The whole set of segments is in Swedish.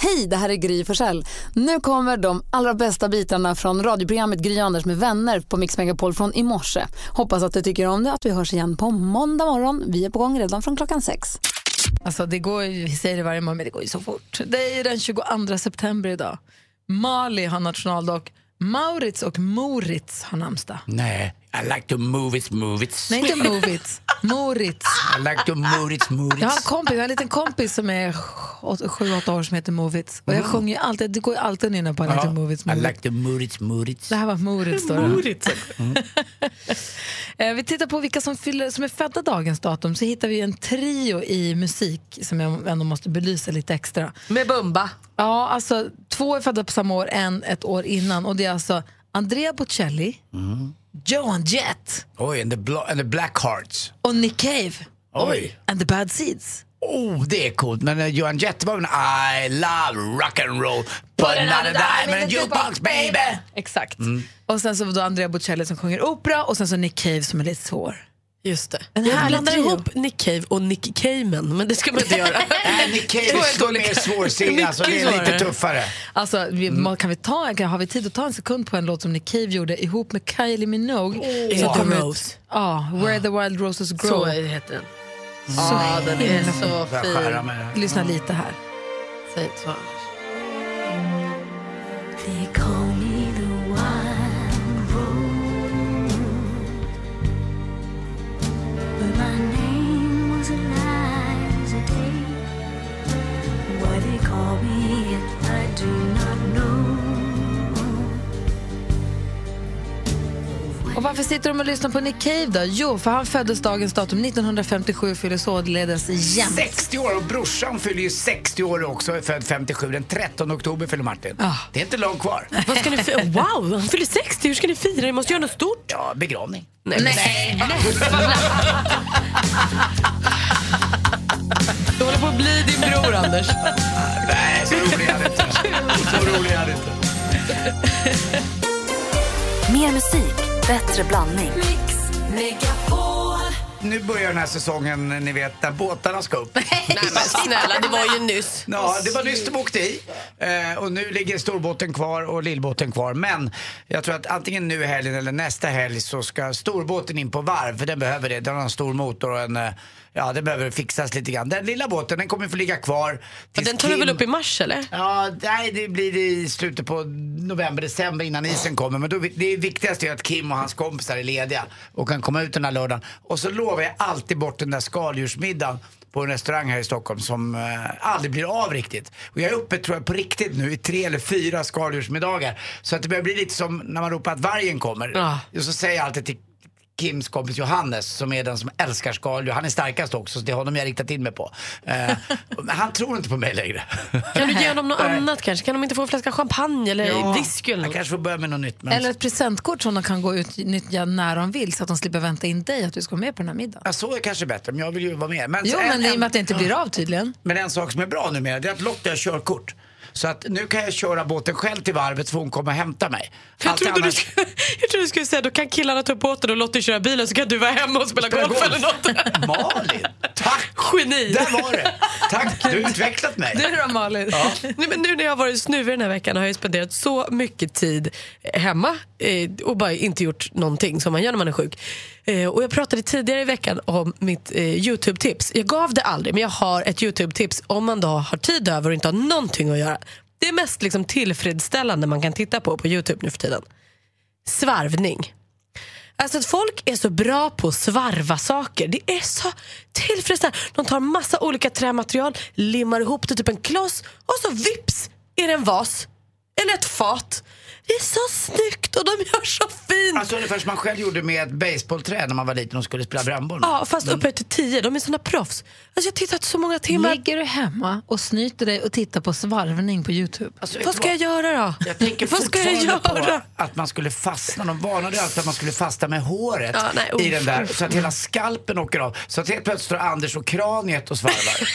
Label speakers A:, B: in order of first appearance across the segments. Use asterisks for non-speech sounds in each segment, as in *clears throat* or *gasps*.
A: Hej, det här är Gry Forssell. Nu kommer de allra bästa bitarna från radioprogrammet Gry Anders med vänner på Mix Megapol från i morse. Hoppas att du tycker om det att vi hörs igen på måndag morgon. Vi är på gång redan från klockan sex.
B: Alltså det går ju, vi säger det varje morgon, men det går ju så fort. Det är ju den 22 september idag. Mali har nationaldag. Maurits och Moritz har namnsdag.
C: Nej, I like to move it, move it.
B: Nej, inte Movits. Moritz.
C: I like to move it, move it.
B: Jag har en kompis, jag har en liten kompis som är 7-8 år som heter Movits. Och jag sjunger ju alltid, det går ju alltid att nynna på I like to move it,
C: Mm. Uh, I
B: move it.
C: like to move it, move it.
B: Det här var Moritz då. Moritz. Eh, Vi tittar på vilka som, fyller, som är födda dagens datum så hittar vi en trio i musik som jag ändå måste belysa lite extra.
D: Med Bumba.
B: Ja, alltså två är födda på samma år, en ett år innan. Och det är alltså Andrea Bocelli, Joan Jett
C: Oj, Mm-hmm. and the, blo- and the black hearts.
B: och Nick Cave.
C: Oj.
B: And the Bad Seeds.
C: Oh, det är coolt. Men eh, Johan Jett var väl I love rock and roll Put another dime in a jukebox baby. Mm.
B: Exakt. Och sen så var det Andrea Bocelli som sjunger opera och sen så Nick Cave som är lite svår.
D: Just det.
B: En
D: jag
B: härlig
D: blandar
B: trio.
D: ihop Nick Cave och Nick Cayman, men det ska man inte göra.
C: Nej, Nick Cave är så mer svårsinnad, alltså, det är
D: Mycket svårare.
C: lite tuffare.
B: Alltså, vi, kan vi ta, kan, har vi tid att ta en sekund på en låt som Nick Cave gjorde ihop med Kylie Minogue? Oh.
D: Is it the Rose?
B: Ja, Where the Wild Roses Grow.
D: Så heter den. *laughs* Ja, den är så
C: Får jag skära
D: fin.
C: med det?
B: Lyssna lite här.
D: Säg inte så annars.
B: Och varför sitter de och lyssnar på Nick Cave då? Jo, för han föddes dagens datum 1957 och fyller således jämt.
C: 60 år och brorsan fyller ju 60 år också, är född 57. Den 13 oktober fyller Martin. Det är inte långt kvar.
D: Ah. Vad ska ni
C: *laughs*
D: fi- wow, han fyller 60. Hur ska ni fira? Ni måste göra något stort.
C: Ja, begravning. *laughs*
D: Du håller på att bli din bror, Anders.
C: Nej, så rolig är det inte. Så rolig är det inte.
E: Mer musik, bättre blandning.
C: Nu börjar den här säsongen, ni vet, där båtarna ska
D: *laughs*
C: upp.
D: Nej, men snälla, det var ju nyss.
C: Ja, det var nyss de åkte i. Eh, och nu ligger storbåten kvar och lillbåten kvar. Men jag tror att antingen nu i helgen eller nästa helg så ska storbåten in på varv. För den behöver det. Den har en stor motor och en... eh, Ja, den behöver fixas lite grann. Den lilla båten, den kommer få ligga kvar. tills
D: Den tar du
C: Kim-
D: väl upp i mars, eller?
C: Ja, nej, det blir i slutet på november, december innan isen kommer. Men då, det viktigaste är att Kim och hans kompisar är lediga och kan komma ut den här lördagen. Och så lovar jag alltid bort den där skaldjursmiddagen på en restaurang här i Stockholm som eh, aldrig blir av riktigt. Och jag är uppe, tror jag, på riktigt nu i tre eller fyra skaldjursmiddagar. Så att det börjar bli lite som när man ropar att vargen kommer.
D: Ja.
C: Och så säger jag alltid till Kims kompis Johannes som är den som älskar skaldjur. Han är starkast också så det är honom jag riktat in mig på. Eh, men han tror inte på mig längre.
D: Kan du ge dem något
C: Nej.
D: annat kanske? Kan de inte få en flaska champagne eller whisky eller
C: Jag
D: något?
C: kanske får börja med något nytt. Men...
B: Eller ett presentkort som de kan gå utnyttja när de vill så att de slipper vänta in dig att du ska vara med på den här middagen.
C: Ja, så är kanske bättre, men jag vill ju vara med.
B: Jo,
C: en,
B: men i och med att det
C: en,
B: inte blir av tydligen.
C: men en sak som är bra numera, det är att Lotta har körkort. Så att nu kan jag köra båten själv till varvet så får hon komma och hämta mig.
D: Jag
C: Allt
D: trodde, du
C: annat-
D: skulle, *laughs* jag trodde du skulle säga då kan killarna ta upp båten och Lottie köra bilen så kan du vara hemma och spela,
C: Spela
D: golf, eller något.
C: Malin, tack!
D: Geni!
C: Där var det! Tack, du har utvecklat mig.
B: Du då Malin?
D: *laughs* Nej, men nu när jag har varit snuvig den här veckan har jag ju spenderat så mycket tid hemma eh, och bara inte gjort någonting som man gör när man är sjuk. Eh, och jag pratade tidigare i veckan om mitt eh, Youtube-tips. Jag gav det aldrig, men jag har ett Youtube-tips om man då har tid över och inte har någonting att göra. Det är mest liksom, tillfredsställande man kan titta på på Youtube nu för tiden. Svarvning. Alltså att folk är så bra på att svarva saker. Det är så tillfredsställande. De tar massa olika trämaterial, limmar ihop det typ en kloss och så vips är det en vas. Eller ett fat. Det är så snyggt och de gör så fint.
C: Alltså ungefär som man själv gjorde med ett baseballträ när man var liten och skulle spela brännboll. med.
D: ja, fast upphöjt till tio. De är såna proffs. Alltså jag har tittat så många timmar.
B: Ligger du hemma och snyter dig och tittar på svarvning på Youtube?
C: Alltså, vet
D: Vad
C: du
D: ska jag göra då?
C: Jag tänker
D: Vad ska jag
C: fortfarande
D: göra?
C: på att man skulle fastna. De varnade ju alltid att man skulle fastna med håret
D: Ja, nej,
C: i
D: usch,
C: den där
D: usch.
C: så att hela skalpen åker av. Så att helt plötsligt står Anders och kraniet och svarvar.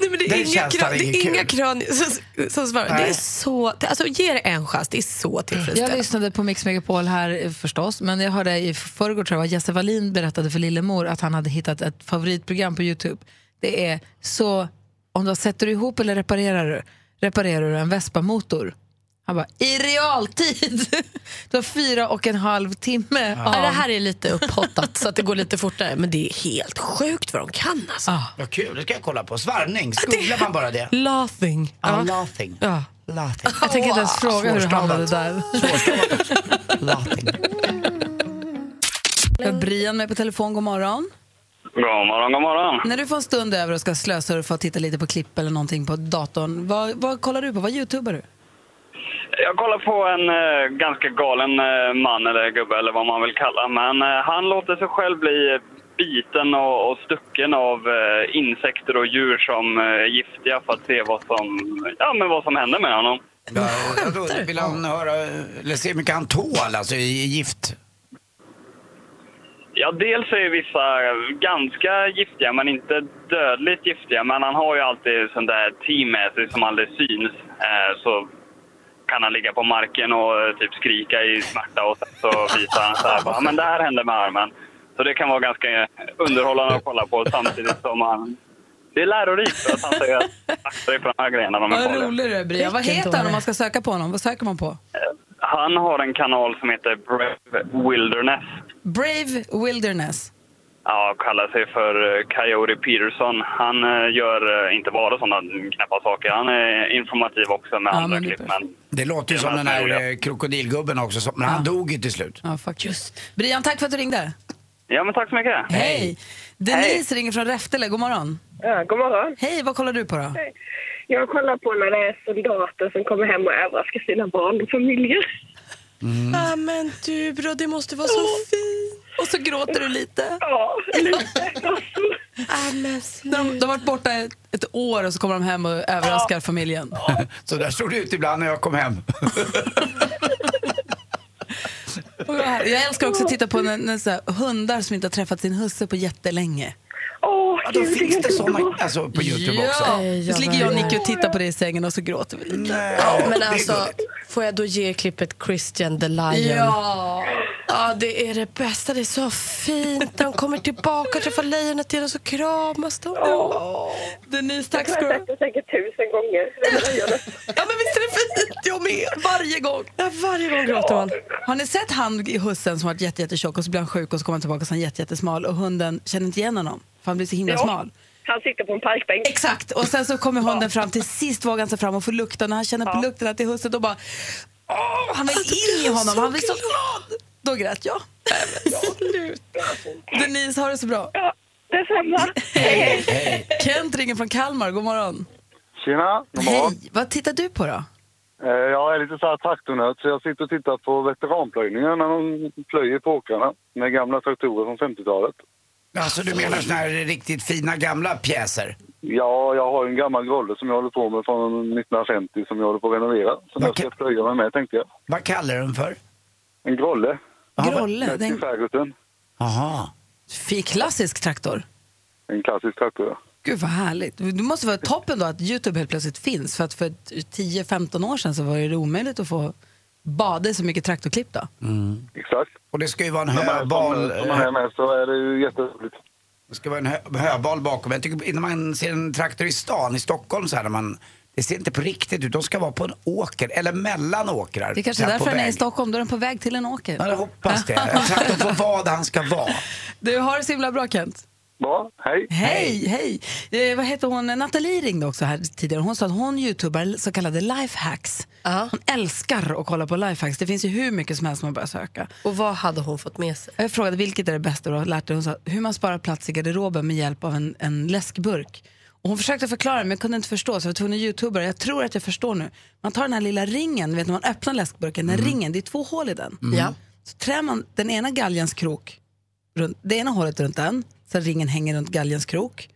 D: Nej, men det är
C: Den
D: inga,
C: känslan
D: kran,
C: är
D: det är
C: ingen
D: inga
C: kul.
D: kranier som, som svarvar. Det
C: Nej.
D: är så... det- Alltså, ge det en chans. Det är så
B: Jag
D: tillfredsställande.
B: lyssnade på Mix Megapol här eh, förstås, men jag hörde i förrgår tror jag, Jesse Wallin berättade för Lillemor att han hade hittat ett favoritprogram på Youtube. Det är så, om du har- sätter du ihop eller reparerar du?
F: reparerar du en Vespa-motor? Han bara,
B: *laughs*
F: i realtid! Det var fyra och en halv timme
D: Ja,
F: av...
D: det här är lite upphottat så att det går lite fortare. Men det är helt sjukt vad de kan alltså.
F: Ah.
C: Vad kul, det ska jag kolla på. Svarvning, googlar man
D: *laughs*
C: bara det?
D: Laughing.
C: Ja, laughing.
D: Ja.
C: Laughing.
F: Jag tänker inte ens fråga hur
B: *laughs*
F: du hamnade där.
C: laughing.
B: Jag har Brian med på telefon, god morgon.
G: God morgon, god morgon.
B: När du får en stund över och ska slösurfa och titta lite på klipp eller någonting på datorn, vad, vad kollar du på? Vad youtubar du?
G: Jag kollar på en eh, ganska galen eh, man eller gubbe eller vad man vill kalla. Men eh, han låter sig själv bli eh, biten och, och stucken av eh, insekter och djur som eh, är giftiga för att se vad som, ja, men vad som händer med honom.
C: Ja, och då vill han höra, eller se hur mycket han tål, alltså i i gift.
G: Ja, dels är vissa ganska giftiga, men inte dödligt giftiga. Men han har ju alltid sån där team med sig som aldrig syns. Eh, så kan han ligga på marken och eh, typ skrika i smärta och sen så visar han så här, bara, men det här hände med armen. Så det kan vara ganska underhållande att kolla på samtidigt som han... Det är lärorikt för att han säger att akta dig för de här grejerna, de är
B: Vad
G: farliga.
B: rolig du är Brian. Vad
D: Vilken
B: heter han
D: dåre.
B: om man ska söka på honom? Vad söker man på?
G: Eh, Han har en kanal som heter Brave Wilderness.
B: Brave Wilderness.
G: Ja, kallar sig för eh, Coyote Peterson. Han eh, gör eh, inte bara sådana knäppa saker. Han är informativ också med
B: Ja,
G: andra
B: men det är
G: klipp. Men
C: Det låter ju som den här eh, krokodilgubben också, som, men han dog ju till slut. *laughs*
B: Ja, faktiskt. Brian, tack för att du ringde.
G: ja, men tack så mycket.
B: Hej! Denise ringer från Räftele, god morgon.
H: Ja, god morgon.
B: Hej, vad kollar du på då?
H: Jag kollar på när det är soldater som kommer hem och överraskar sina barn och familjer.
B: Mm.
D: Ah, men du bro, det måste vara så fint. Och så gråter du lite.
H: Ja, lite.
D: Ah, men snälla.
B: När de, de har varit borta ett, ett år och så kommer de hem och överraskar familjen.
C: Så där såg det ut ibland när jag kom hem.
B: Och jag- Jag älskar också att titta på när, när så här, hundar som inte har träffat sin husse på jättelänge.
H: Åh,
C: Ja, då
H: gud,
C: finns
H: är
C: det
H: så
C: såna
H: bra.
C: alltså, på Youtube också.
B: Ja,
D: Nej,
B: visst
D: jag
B: ligger jag och
D: väl.
B: Nicky och tittar på det i sängen och så gråter vi lite.
C: Nej,
D: Ja, men
C: det är
D: alltså,
C: gulligt.
D: får jag då ge klippet Christian the Lion?
B: Ja!
D: Ja, det är det bästa. Det är så fint. Han kommer tillbaka och träffar lejonet igen och så kramas de.
B: Denise,
H: Jag
B: tack ska du
H: har
B: ha.
H: sett det säkert tusen gånger.
D: Ja, men visst är det fint? Jag med. Varje gång. Ja, varje gång gråter man.
B: Har ni sett han i hussen som varit jätte, jättetjock och så blir han sjuk och så kommer han tillbaka och så är han jätte, jättesmal och hunden känner inte igen honom för han blir så himla
H: Ja.
B: smal.
H: Han sitter på en parkbänk.
B: Exakt! Och sen så kommer hunden fram till sist vågar han sig fram och får lukta när han känner på lukten att det är husse och bara Åh, han vill in i honom, han blir så glad! Då grät jag. Denise, har det så bra.
H: Ja, detsamma.
B: Kent ringer från Kalmar, god morgon.
I: Tjena, god morgon.
B: Hej, vad tittar du på då?
I: Eh, Jag är lite så här traktornörd så jag sitter och tittar på veteranplöjningar när de plöjer på åkrarna med gamla traktorer från 50-talet.
C: Alltså du menar såna här riktigt fina gamla pjäser?
I: Ja, jag har ju en gammal Grodde som jag håller på med från 1950 som jag håller på att renovera. Som jag ska
C: Okej.
I: plöja mig med tänkte jag.
C: Vad kallar du den för?
I: En Grodde,
B: Grolle,
I: mest i
B: den
I: Ferguson.
C: Jaha.
B: fi- klassisk traktor.
I: En klassisk traktor.
B: Gud vad härligt. Det måste vara toppen då att Youtube helt plötsligt finns. För att för 10-15 år sedan så var det omöjligt att få bada i så mycket traktorklipp då.
I: Mm. Exakt.
C: Och det ska ju vara en
I: När man,
C: höbal,
I: som man är med så är det ju jätteroligt.
C: det ska vara en hö, höbal bakom. Jag tycker när man ser en traktor i stan, i Stockholm så här, när man, det ser inte på riktigt ut. De ska vara på en åker, eller mellan åkrar.
B: Det är kanske
C: så
B: är
C: här på
B: därför den är i
C: väg.
B: Stockholm, då är den på väg till en åker.
C: Ja, jag hoppas det.
B: *laughs*
C: En traktor får vara där han ska vara.
B: Du har det så himla bra Kent.
I: Bra, hej.
B: Hej, hej. Eh, vad heter hon? Nathalie ringde också här tidigare. Hon sa att hon youtubar så kallade lifehacks.
D: Ja.
B: Hon älskar att kolla på lifehacks. Det finns ju hur mycket som helst man bara söka.
D: Och vad hade hon fått med sig?
B: Jag frågade vilket är det bästa du har lärt dig. Hon sa hur man sparar plats i garderoben med hjälp av en, en läskburk. Och hon försökte förklara men jag kunde inte förstå så jag var tvungen att youtuba. Jag tror att jag förstår nu. Man tar den här lilla ringen, vet när man öppnar läskburken, den ringen, det är två hål i den.
D: Mm. Ja.
B: Så trär man den ena galjens krok, runt, det ena hålet runt den, så ringen hänger runt galjens krok.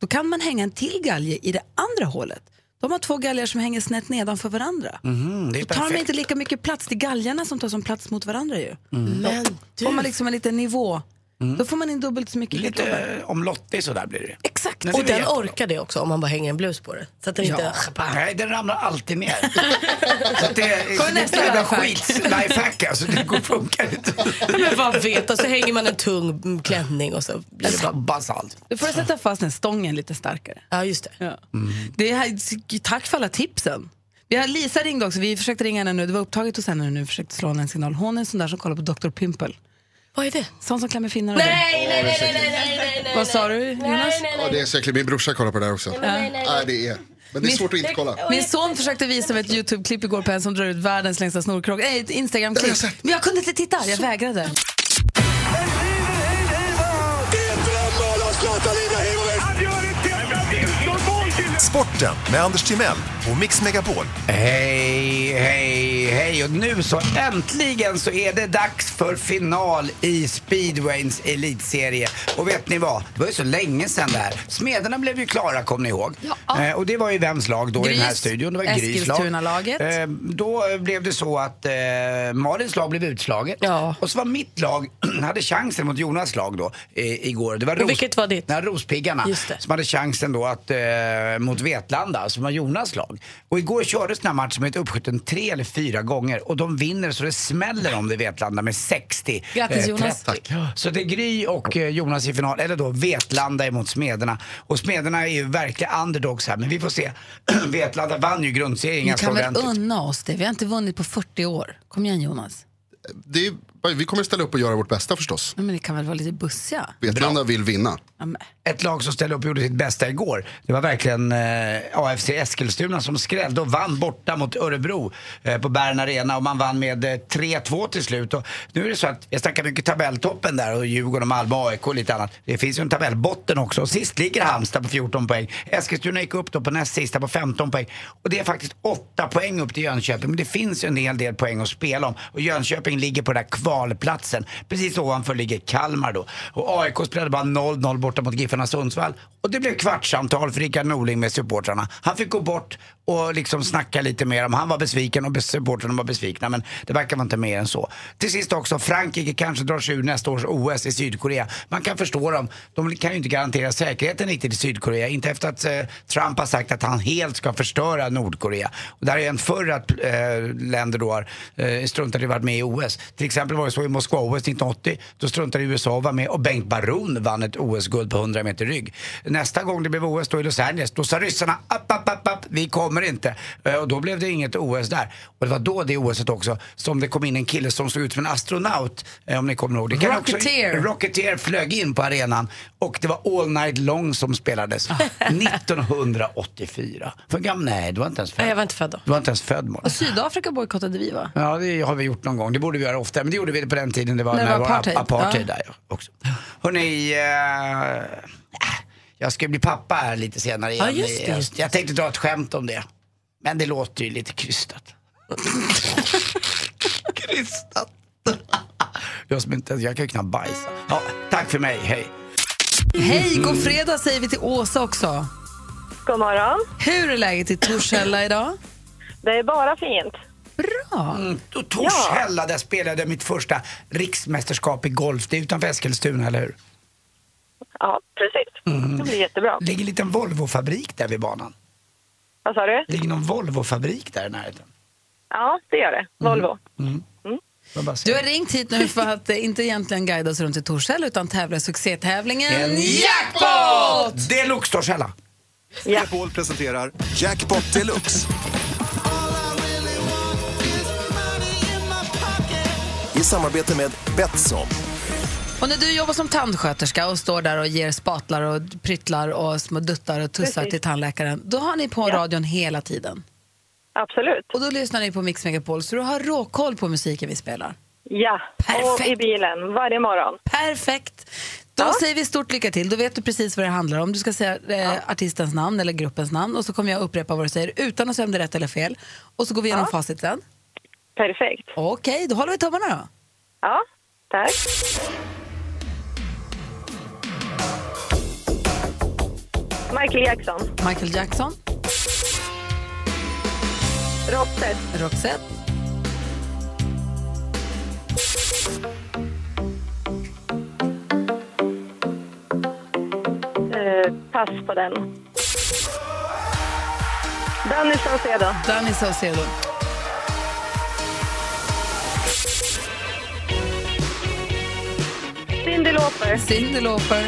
B: Då kan man hänga en till galge i det andra hålet. De har två galgar som hänger snett nedanför varandra.
C: Mhm, det är
B: Då tar de
C: perfekt.
B: inte
J: Mm.
B: lika mycket plats till galgarna som tar som plats mot varandra ju.
D: Men
B: Om man liksom en liten nivå.
F: Då får man in dubbelt så mycket
C: Mm. Lite
F: lekloppar.
C: eh, omlottig sådär blir det.
F: Exakt.
C: Men
J: Och
C: det är
J: den
C: jättebra.
J: orkar det också om man bara hänger en blus på det. Så att den inte...
C: Nej, den ramlar
J: *laughs*
C: alltid ner. Så att det är
F: Kommer nästa
C: det är jävla
F: lifehack.
C: skits lifehack alltså. Det går, funkar inte.
J: Men vad vet, och
D: Alltså,
J: så hänger man en tung mm, klänning och så blir
C: Alltså,
J: det bra.
C: Tabbas allt.
B: Du får sätta fast den stången lite starkare.
J: Ja, just det.
B: Ja.
C: Mm.
B: Det här, tack för alla tipsen. Vi har Lisa ringde också. Vi försökte ringa henne nu. Det var upptaget hos henne nu. Vi försökte slå henne en signal. Hon är en sån där som kollar på Dr. Pimple.
J: Vad är det?
B: Sån som klämmer finnar och det.
J: Nej, nej, nej, nej, nej, nej, nej, nej.
B: Vad sa du Jonas?
K: Ja, det är så äckligt. Min brorsa kollar på det där också.
J: nej,
K: Nej, det är. Men det är svårt att inte kolla.
B: Min son försökte visa mig ett YouTube-klipp igår på en som drar ut världens längsta snorkrok. Nej, ett
K: Det har
B: Instagram-klipp.
K: jag sett.
B: Men jag kunde inte titta. Jag vägrade.
L: Sporten med Anders Timell och Mix Megapol.
C: Hej, hej, hej. Och nu så äntligen så är det dags för final i speedwayns elitserie. Och vet ni vad? Det var ju så länge sedan det här. Smederna blev ju klara, kommer ni ihåg?
B: Ja.
C: Eh, och det var ju vems lag då i den här
B: Gris,
C: studion? Det var Grys lag.
B: Eskilstuna-laget.
C: Eh, då blev det så att eh, Malins lag blev utslaget.
J: Ja.
C: Och så var mitt lag, *clears throat* hade chansen mot Jonas lag då eh, igår. Det var Ros-
J: vilket var ditt?
C: Nej, Rospiggarna.
J: Just det.
C: Som hade chansen då att eh, mot Vetlanda, som var Jonas lag. Och igår kördes den här matchen med ett uppskjuten tre eller fyra gånger. Och de vinner så det smäller om det Vetlanda med eh, 60.
B: Grattis, Jonas.
C: 30. Så det är Gry och eh, Jonas i final, eller då Vetlanda emot Smederna. Och Smederna är ju verkliga underdogs här, men vi får se. *clears throat* Vetlanda vann ju grundserien
B: Vi
C: ganska
B: kan väl
C: ordentligt.
B: unna oss det. Vi har inte vunnit på 40 år. Kom igen Jonas.
K: Det är, vi kommer ställa upp och göra vårt bästa förstås.
B: Nej, Men det kan väl vara lite bussiga?
K: Vetlanda vill vinna.
B: Ja, men.
C: ett lag som ställde upp och gjorde sitt bästa igår. Det var verkligen eh, AFC Eskilstuna som skrällde och vann borta mot Örebro eh, på Bern Arena och man vann med eh, 3-2 till slut. Och nu är det så att, jag snackar mycket tabelltoppen där och Djurgården, Malmö, AIK och lite annat. Det finns ju en tabellbotten också. Och Sist ligger Halmstad på 14 poäng. Eskilstuna gick upp då på näst sista på 15 poäng. Och det är faktiskt 8 poäng upp till Jönköping. Men det finns ju en hel del poäng att spela om. Och Jönköping ligger på den där kvalplatsen. Precis ovanför ligger Kalmar då. Och AIK spelade bara 0-0 borta mot Giffarna Sundsvall. Och det blev kvartssamtal för Rickard Norling med supportrarna. Han fick gå bort och liksom snacka lite mer om han var besviken och supportrarna var besvikna. Men det verkar vara inte mer än så. Till sist också, Frankrike kanske drar sig ur nästa års OS i Sydkorea. Man kan förstå dem. De kan ju inte garantera säkerheten riktigt i Sydkorea. Inte efter att eh, Trump har sagt att han helt ska förstöra Nordkorea. Och där har ju hänt förr att eh, länder då har eh, struntat i att vara med i OS. Till exempel var det så i Moskva-OS 1980. Då struntade USA att vara med och Bengt Baron vann ett OS-guld på 100 meter rygg. Nästa gång det blev OS då i Los Angeles, då sa ryssarna app, app, app, app, vi kommer inte. Eh, och då blev det inget OS där. Och det var då det OSet också som det kom in en kille som såg ut som en astronaut, eh, om ni kommer ihåg. Det kan också-
B: Rocketeer.
C: Rocketeer flög in på arenan och det var All Night Long som spelades
J: Ah.
C: 1984. För gammal? Nej, du var inte
J: Nej,
C: ens
J: jag
C: född.
J: var inte född då.
C: Du var inte ens född Malin.
B: Sydafrika bojkottade vi va?
C: Ja, det har vi gjort någon gång. Det borde vi göra ofta. Men det gjorde vi på den tiden det var,
B: När det var
C: ap-
B: apartheid.
C: apartheid där ja, också. Hörrni, eh, äh, jag ska bli pappa här lite senare igen.
J: just det,
C: i höst.
J: just
C: Jag tänkte dra ett skämt om det. Men det låter ju
B: *laughs*
C: lite krystat. krystat. jag som inte, jag kan ju knappt bajsa. Ja, tack för mig, hej.
B: Hej, god fredag säger vi till Åsa också.
M: God morgon.
B: Hur är läget i Torshälla idag?
M: Det är bara fint.
B: Bra.
C: Och Torshälla, där spelade jag mitt första riksmästerskap i golf. Det är utanför Eskilstuna, eller hur?
M: Ja, precis. Det blir jättebra.
C: Det ligger en liten Volvo-fabrik där vid banan.
M: Vad sa du?
C: Det ligger någon Volvo-fabrik där i närheten. Mm. Ja,
M: det gör det. Volvo.
C: Jag bara
B: Mm. Du
C: säger.
B: har ringt hit nu för att eh, inte egentligen guida oss runt i Torshälla utan tävla i succétävlingen.
C: En jackpot! Det är Luxtorshälla.
L: Megapol presenterar Jackpot Deluxe. I samarbete med Betsson.
B: Och när du jobbar som tandsköterska och står där och ger spatlar och pryttlar och små duttar och tussar till tandläkaren, då har ni på radion hela tiden.
M: Absolut.
B: Och då lyssnar ni på Mix Megapol så du har råkoll på musiken vi spelar.
M: Ja,
B: Perfekt.
M: och i bilen varje morgon.
B: Perfekt! Då säger vi stort lycka till. Då vet du precis vad det handlar om. Du ska säga eh, artistens namn eller gruppens namn och så kommer jag upprepa vad du säger utan att säga om det är rätt eller fel. Och så går vi igenom facit sen.
M: Perfekt.
B: Okej, då håller vi tummarna då.
M: Ja, tack. Michael Jackson,
B: Michael Jackson,
M: Roxette,
B: Roxette,
M: Eh, pass på den. Danny Saucedo.
B: Danny Saucedo.
M: Cyndi Lauper.
B: Cyndi Lauper.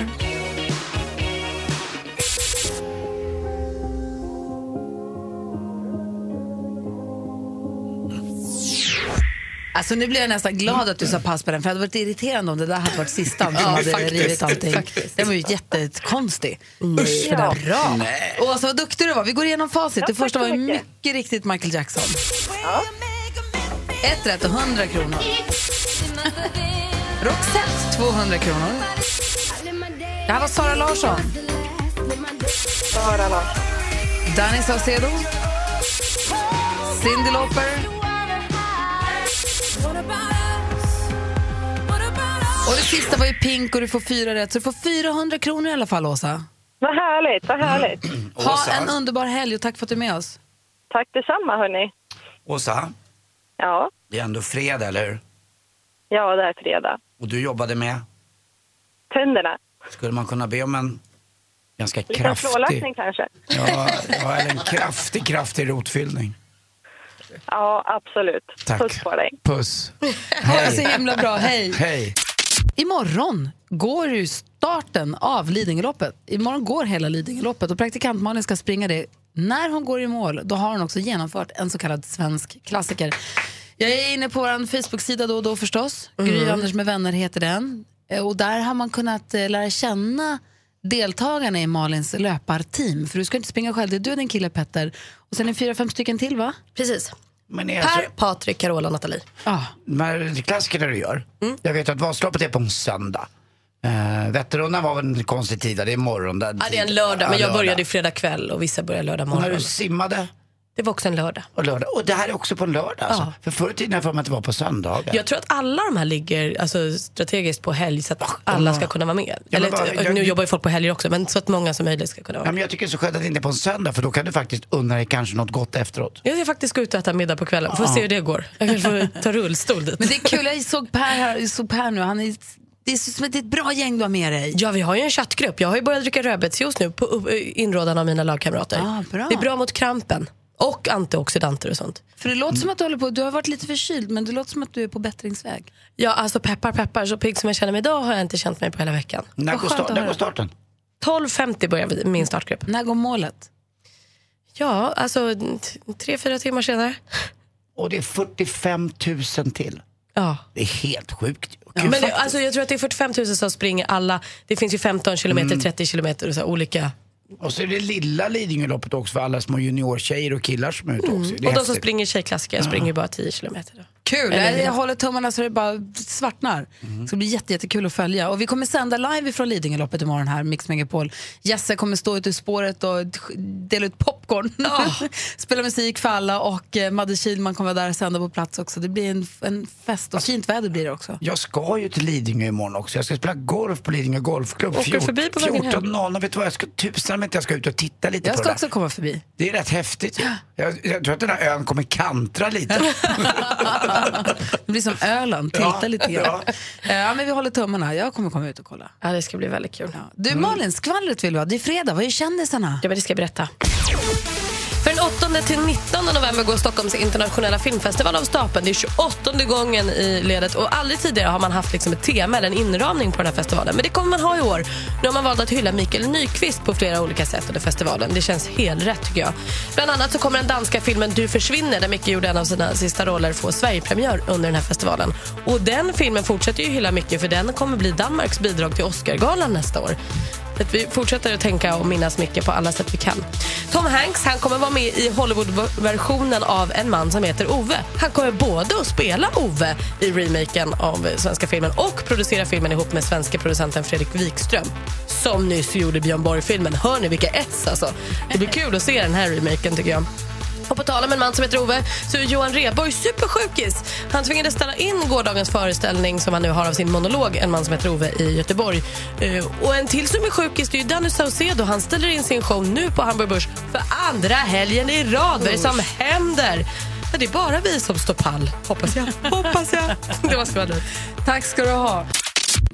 B: Alltså nu blir jag nästan glad att du sa pass på den, för det hade varit irriterande om det där hade varit sista som
F: Ja,
B: hade
F: faktiskt.
B: rivit allting.
F: *laughs* Faktiskt.
B: Den var ju jättekonstig.
F: Nej.
B: Usch, vad
F: Ja.
B: bra.
F: Nej.
B: Och alltså vad duktig du var. Vi går igenom facit.
F: Ja,
B: Det första
F: tack
B: var
F: så
B: ju
F: mycket.
B: mycket riktigt Michael Jackson. Ett rätt och 100 kronor. Roxette 200 kronor. Det här var Sara Larsson.
M: Sara Larsson.
B: Danny Saucedo. Cyndi Lauper. Och det sista var ju Pink och du får fyra rätt. Så du får 400 kronor i alla fall, Åsa.
M: Vad härligt, vad härligt.
B: Ha en underbar helg och tack för att du är med oss.
M: Tack detsamma, hörni.
C: Åsa,
M: Ja,
C: det är ändå fredag, eller hur?
M: ja, det är fredag.
C: Och du jobbade med,
M: Tänderna.
C: skulle man kunna be om en ganska
M: Lite
C: kraftig...
M: flårlackning kanske?
C: Ja,
H: *laughs*
C: ja, eller en kraftig, kraftig rotfyllning.
M: Ja, absolut.
C: Tack.
M: Puss på dig.
C: Puss.
B: Ha det så himla bra. Hej.
C: Hej.
B: Imorgon går ju starten av Lidingöloppet. Imorgon går hela Lidingöloppet och praktikant Malin ska springa det. När hon går i mål, då har hon också genomfört en så kallad svensk klassiker. Jag är inne på vår Facebook-sida då och då förstås. Gry
F: Mm.
B: Anders med vänner heter den. Eh, Och där har man kunnat eh, lära känna deltagarna i Malins löparteam. För du ska inte springa själv, det är du och din kille Petter. Och sen är det fyra, fem stycken till va?
D: Precis.
C: Men
D: Per,
C: är alltså-
D: Patrik, Carola, Nathalie.
C: De här klassikerna du gör.
D: Mm.
C: Jag vet att Vasaloppet är på en söndag. Uh, Vätternrundan var väl en konstig tid, det är morgon. Där,
D: Ja, det är en lördag, men jag började i fredag kväll och vissa börjar lördag
C: Och när
D: morgon.
C: du simmade?
D: Det var också en lördag.
C: Och, lördag. och det här är också på en lördag alltså. För förr i tiden har jag för mig att det var på söndagar.
D: Jag tror att alla de här ligger alltså, strategiskt på helg så att alla ska kunna vara med.
C: Oh, men
D: Eller, typ,
C: bara-
D: t-
C: jag-
D: nu jobbar ju folk på helger också, men så att många som möjligt ska kunna vara
C: Ja, men jag tycker det är så skönt att det inte är på en söndag för då kan du faktiskt unna dig kanske något gott efteråt.
D: Jag ska faktiskt gå ut och äta middag på kvällen. Får
C: Ja.
D: se hur det går. Jag kanske får ta rullstol dit.
B: Men det är
D: *laughs*
B: kul, jag såg Per, här, jag såg per nu. Han är, det är som ett, det är ett bra gäng du har med dig.
D: Ja, vi har ju en chattgrupp. Jag har ju börjat dricka rödbetsjuice nu på upp- eh, inrådan av mina lagkamrater.
B: Ah,
D: Det är bra mot krampen och antioxidanter och sånt.
B: För det låter som att du håller på, du har varit lite förkyld men det låter som att du är på bättringsväg.
D: Ja, alltså peppar peppar, så pigg som jag känner mig idag har jag inte känt mig på hela veckan.
C: När går, start, när går starten?
D: 12.50 börjar vi- min startgrupp.
B: När går målet?
D: Ja, alltså t- tre, fyra timmar senare.
C: Och det är 45 000 till.
D: Ja.
C: Det är helt sjukt.
D: Ja, men det, alltså, jag tror att det är 45 000 som springer alla. Det finns ju 15 kilometer,
C: Mm.
D: 30 kilometer och så här olika.
C: Och så är det lilla Lidingöloppet också för alla små juniortjejer och killar som är ute också. Det är
D: Mm. Och de som
C: häftigt.
D: springer tjejklassiker
C: Ja.
D: springer ju bara 10 kilometer. Då.
B: Kul,
D: Eller-
B: jag, jag håller tummarna så det bara svartnar. Det ska bli jätte- jättekul att följa. Och vi kommer sända live från Lidingöloppet imorgon här, Mix Megapol. Jesse kommer stå ute i spåret och sk- dela ut popcorn. *laughs* Spela musik för alla och eh, Madde Kihlman kommer vara där och sända på plats också. Det blir en, en fest och fint väder blir det också.
C: Jag ska ju till Lidingö imorgon också. Jag ska spela golf på Lidingö Golfklubb.
B: Åker du förbi på vägen hem?
C: 14.00. Vet du vad, jag ska tusan om inte jag ska ut och titta lite
B: Jag
C: på
B: ska
C: det där.
B: också komma förbi.
C: Det är rätt häftigt. Jag, jag tror att den här ön kommer
B: *laughs*
C: kantra lite.
B: Det blir som Öland, tilta
C: Ja,
B: lite grann. Eh, Ja. men vi håller tummarna. Jag kommer komma ut och kolla.
D: Ja, det ska bli väldigt kul.
B: Du Malin, skvallret vill du ha. Det är fredag, vad är kändisarna?
D: Ja, men det ska jag berätta. För den 8 till 19 november går Stockholms internationella filmfestival av stapeln. Det är 28 gången i ledet och aldrig tidigare har man haft liksom ett tema eller en inramning på den här festivalen. Men det kommer man ha i år. Nu har man valt att hylla Mikael Nyqvist på flera olika sätt under festivalen. Det känns helt rätt tycker jag. Bland annat så kommer den danska filmen Du försvinner där Micke gjorde en av sina sista roller få Sverigepremiär under den här festivalen. Och den filmen fortsätter ju hylla Micke för den kommer bli Danmarks bidrag till Oscargalan nästa år. Så att vi fortsätter att tänka och minnas mycket på alla sätt vi kan. Tom Hanks han kommer vara med i Hollywood-versionen av En man som heter Ove. Han kommer både att spela Ove i remaken av svenska filmen och producera filmen ihop med svenska producenten Fredrik Wikström som nyss gjorde Björn Borg-filmen. Hör ni vilka S alltså? Det blir kul att se den här remaken tycker jag. Och på tal om en man som heter Ove så är Johan Rheborg supersjukis. Han tvingades ställa in gårdagens föreställning som han nu har av sin monolog En man som heter Ove i Göteborg. Eh, och en till som är sjukis det är ju Danny Saucedo. Han ställer in sin show nu på Hamburg Börs för andra helgen i rad. Vad är det som händer? Ja, det är
B: *laughs*
D: bara vi som står pall, hoppas jag. Hoppas jag. Det var skvallret.
B: Tack ska du ha.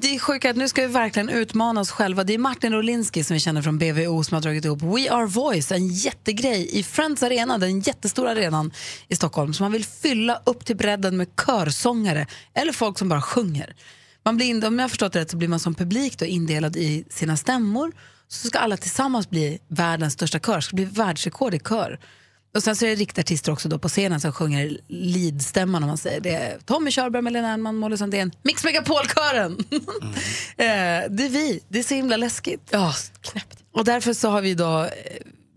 B: Det är sjukt att nu ska vi verkligen utmana oss själva. Det är Martin Rolinski som vi känner från BVO som har dragit ihop We Are Voice, en jättegrej i Friends Arena, den jättestora arenan i Stockholm som man vill fylla upp till bredden med körsångare eller folk som bara sjunger. Man blir in, om jag har förstått det rätt så blir man som publik då indelad i sina stämmor så ska alla tillsammans bli världens största kör, ska bli världsrekord i kör. Och sen så är det riktartister också då på scenen som sjunger leadstämman om man säger. Det är Tommy Körberg, Melina Ernman, Molly Sandén, Mix Megapol-kören! Eh, det är vi, det är så himla läskigt. Ja, knäppt. Och därför så har vi då eh,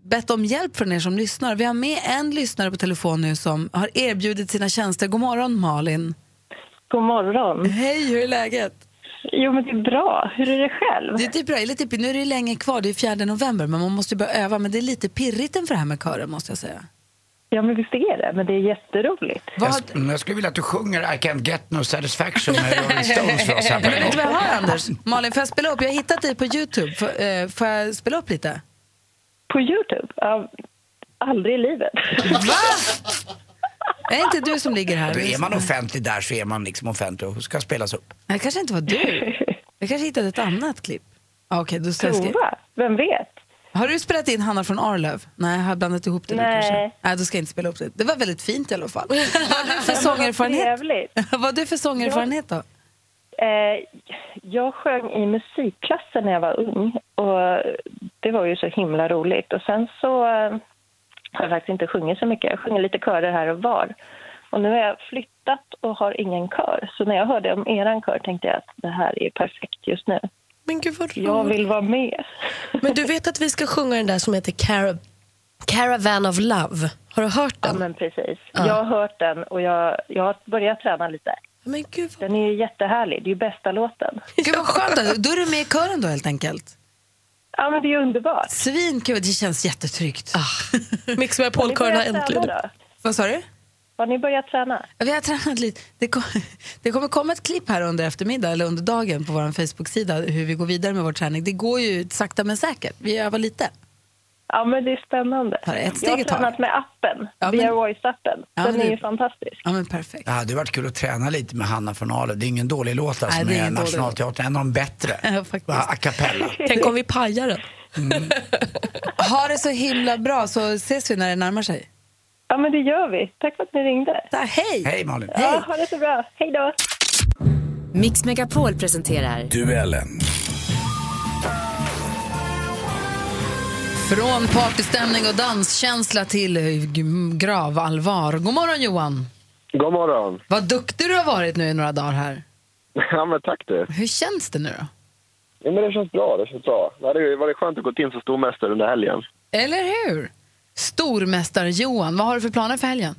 B: bett om hjälp från er som lyssnar. Vi har med en lyssnare på telefon nu som har erbjudit sina tjänster. God morgon Malin!
N: God morgon!
B: Hej, hur är läget?
N: Jo, men det är bra. Hur är det själv?
B: Det, det är bra. Jag är lite, pirrig. nu är det ju länge kvar, det är 4 november, men man måste ju börja öva. Men det är lite pirrigt inför det här med kören måste jag säga.
N: Ja, men visst är det. Men det är jätteroligt.
C: Jag, sk- jag skulle vilja att du sjunger I can't get no satisfaction med Rolling Stones för oss här på
B: Men
C: en
B: vet du vad jag
C: gång.
B: har Anders? Malin, får jag spela upp? Jag har hittat dig på Youtube. Får, eh, får jag spela upp lite?
N: På Youtube? Ja, aldrig i livet.
B: Är det inte du som ligger här?
C: Då är man offentlig där så är man liksom offentlig och ska spelas upp.
B: Nej, det kanske inte var du. Jag kanske hittade ett annat klipp. Ah, Okej, då ska jag skriva.
N: Prova. Vem vet?
B: Har du spelat in Hanna från Arlöv? Nej, jag har blandat ihop det nu
N: Nej.
B: kanske. Nej, då ska jag inte spela upp det. Det var väldigt fint i alla fall. Vad har du för
N: Men vad
B: sångerfarenhet?
N: trevligt.
B: *laughs* Vad har du för sångerfarenhet då?
N: Eh, jag sjöng i musikklassen när jag var ung och det var ju så himla roligt. Och sen så eh, har jag faktiskt inte sjungit så mycket. Jag sjunger lite körer här och var. Och nu har jag flyttat och har ingen kör. Så när jag hörde om eran kör tänkte jag att det här är perfekt just nu.
D: Men gud vad
N: Jag vill vara med.
D: Men du vet att vi ska sjunga den där som heter Cara- Caravan of Love? Har du hört den?
N: Ja, men precis. Jag har hört den och jag, jag har börjat träna lite.
D: Men gud
N: Den är ju jättehärlig. Det är ju bästa låten.
B: Gud vad skönt. att- Då är du med i kören då helt enkelt?
N: Ja, men det är underbart.
B: Svinkul, det känns jättetryggt.
D: Mix med
N: Polkören har äntligen-
B: Vad sa du?
N: Har ni börjat träna?
B: Ja, Vi har tränat lite. Det, kom, *laughs* det kommer komma ett klipp här under eftermiddag eller under dagen på vår Facebook-sida hur vi går vidare med vår träning. Det går ju sakta men säkert. Vi övar lite.
N: Ja, men det är spännande.
B: ett
N: jag
B: steg
N: har
B: i taget.
N: tränat med appen,
B: Ja,
N: via
B: men-
N: Voice-appen.
B: Ja,
N: den
B: men
N: är
B: det-
N: ju fantastisk.
B: Ja, men perfekt.
C: Det hade varit kul att träna lite med Hanna från Arlöv. Det är ingen dålig låt alltså
B: Nej, det är
C: med
B: ingen dålig
C: Nationalteatern. En av
B: *laughs*
C: de bättre. Bara a cappella.
D: Tänk om vi pajar den.
B: Mm. Ha det så himla bra så ses vi när det närmar sig.
N: Ja, men det gör vi. Tack för att ni ringde.
B: hej!
C: Hej Malin.
N: Ja, ha det så bra. Hej då!
O: Mix Megapol presenterar
L: Duellen.
B: Från partystämning och danskänsla till eh, g- gravallvar. God morgon Johan!
P: God morgon.
B: Vad duktig du har varit nu i några dagar här.
P: *laughs* Ja, men tack du.
B: Hur känns det nu då?
P: Ja, men det känns bra. Det känns bra. Det hade ju varit skönt att gå in som stormästare under helgen.
B: Eller hur? Stormästar-Johan, vad har du för planer för helgen?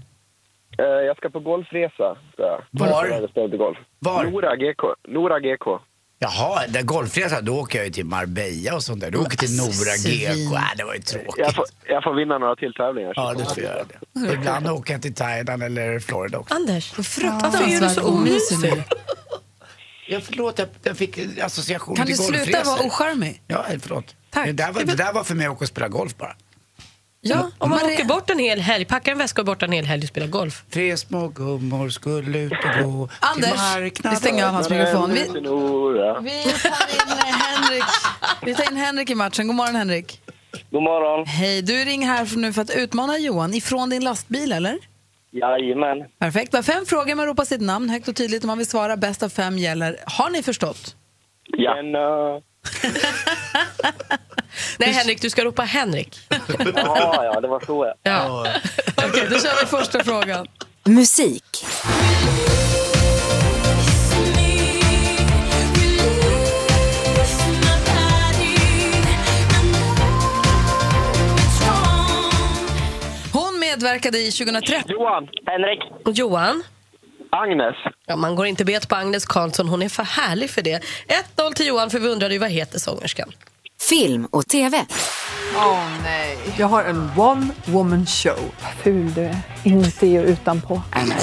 P: Eh, Jag ska på golfresa. ska jag.
C: Var?
P: Jag spelar inte golf.
C: Var?
P: Nora GK. Nora GK.
C: Jaha, där golfresa, då åker jag ju till Marbella och sånt där. Då åker jag till Nora GK. Äh, det var ju tråkigt.
P: Jag får, jag får vinna några till tävlingar.
C: Ja, du får göra det. Ibland åker jag till Thailand eller Florida också.
D: Anders,
B: Varför är du så omysig nu?
C: Ja, förlåt, jag, jag fick association
B: Kan
C: till
B: du
C: golfresor.
B: sluta vara ocharmig?
C: Ja, eh, förlåt. Tack. Det, där var, det där var för mig att åka och spela golf bara.
B: Ja,
D: om man åker bort en hel helg, packar en väska och bort en hel helg och spelar golf.
C: Tre små gummor skulle ut och gå
B: Anders,
C: till marknaden.
B: vi stänger av hans mikrofon. Vi-
P: Vi
B: Henrik. Vi tar in Henrik i matchen. God morgon Henrik.
Q: God morgon.
B: Hej, du ringer här för- nu för att utmana Johan ifrån din lastbil eller?
Q: Jajamän.
B: Perfekt. Vi har fem frågor, man ropar sitt namn högt och tydligt om man vill svara. Bäst av fem gäller. Har ni förstått?
Q: Ja. Men, eh,
D: *laughs* Nej Henrik, du ska ropa Henrik.
Q: ja, ja, det var så ja.
D: Ja.
B: Okej, då kör vi första frågan.
O: musik.
B: Hon medverkade i 2013.
P: Johan.
D: Henrik. Johan.
P: Agnes.
D: Ja, man går inte bet på Agnes Karlsson, hon är för härlig för det. 1-0 till Johan, för vi undrade ju vad heter sångerskan.
O: Film och TV.
R: Åh nej. Jag har en one woman show. Vad ful du är. Inuti och utanpå.
D: Vem är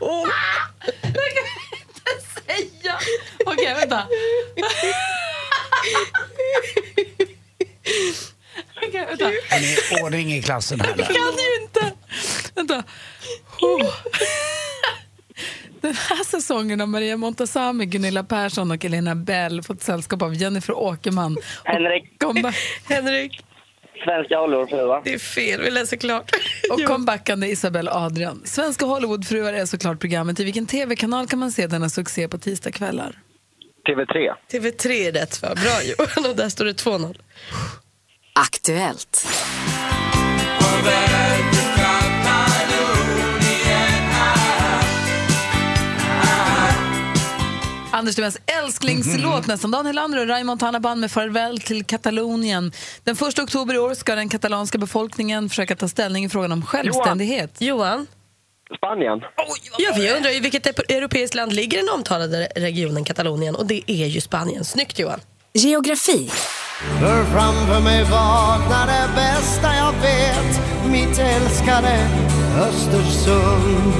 D: hon?
B: Det kan jag inte säga. Okej, vänta. Okej, vänta.
C: Är ni i ordning i klassen här?
B: Jag kan ju inte. Vänta. Oh. Den här säsongen har Maria Montazami, Gunilla Persson och Elena Bell fått sällskap av Jennifer Åkerman.
Q: Henrik.
D: *laughs*
B: Henrik.
Q: Svenska Hollywoodfruar.
B: Det är fel, vi läser klart. Och comebackande Isabel Adrian. Svenska Hollywoodfruar är såklart programmet. I vilken tv-kanal kan man se denna succé på tisdagskvällar?
Q: TV3.
D: TV3 är rätt svar.
Q: *laughs*
D: Bra Johan, och där står det 2-0.
O: Aktuellt.
B: Anders Timells älsklingslåt nästan. Dan Helander och Raymond Tannaband med Farväl till Katalonien. Den 1 oktober i år ska den katalanska befolkningen försöka ta ställning i frågan om självständighet.
D: Johan?
Q: Spanien.
D: Ja, för jag undrar ju vilket ep- europeiskt land ligger i den omtalade regionen Katalonien och det är ju Spanien. Snyggt Johan.
O: Geografi.
S: För framför mig vaknar det bästa jag vet Mitt älskade Östersund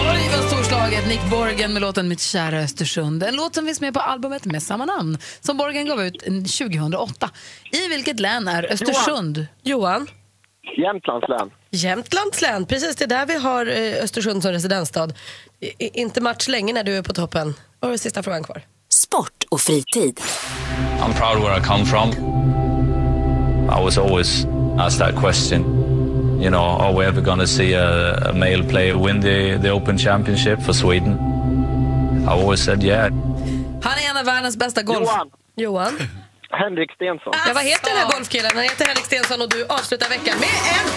B: Oj, vad storslaget! Nick Borgen med låten Mitt kära Östersund. En låt som finns med på albumet med samma namn som Borgen gav ut 2008. I vilket län är Östersund?
D: Johan?
Q: Jämtlands län.
D: Jämtlands län, precis det är där vi har eh, Östersund som residensstad. I, i- inte match länge när du är på toppen. Och sista frågan kvar.
O: Sport och fritid.
T: I'm proud where I come from. I was always asked that question. You know, are we ever going to see a, a male player win the, the Open Championship for Sweden? I always said, yeah.
B: Han är en av världens bästa golf...
D: Johan. Johan?
Q: Henrik Stensson.
D: Ja, vad heter den här golfkillen? Han heter Henrik Stensson och du avslutar veckan med en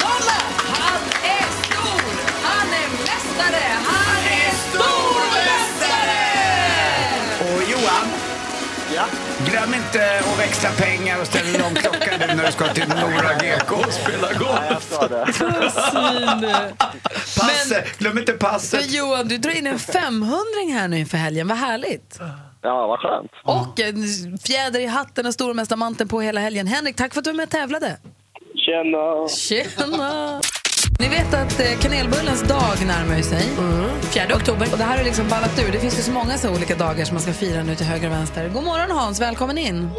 D: 5-0! Han är stor! Han är mästare! Han är stormästare!
C: Och Johan,
Q: Ja.
C: glöm inte att växla pengar och ställa en lång klocka nu när du ska till Nora GK och spela golf.
B: *laughs*
C: Passet, glöm inte passet.
B: Men Johan, du drar in en 500 här nu inför helgen. Vad härligt!
Q: Ja, vad skönt.
B: Och en fjäder i hatten och stormästarmanteln på hela helgen. Henrik, tack för att du var med och tävlade.
Q: Tjena.
B: Tjena! Ni vet att eh, kanelbullens dag närmar ju sig.
D: Fjärde oktober.
B: Och det här har liksom ballat ur. Det finns ju så många så olika dagar som man ska fira nu till höger och vänster. God morgon Hans, välkommen in.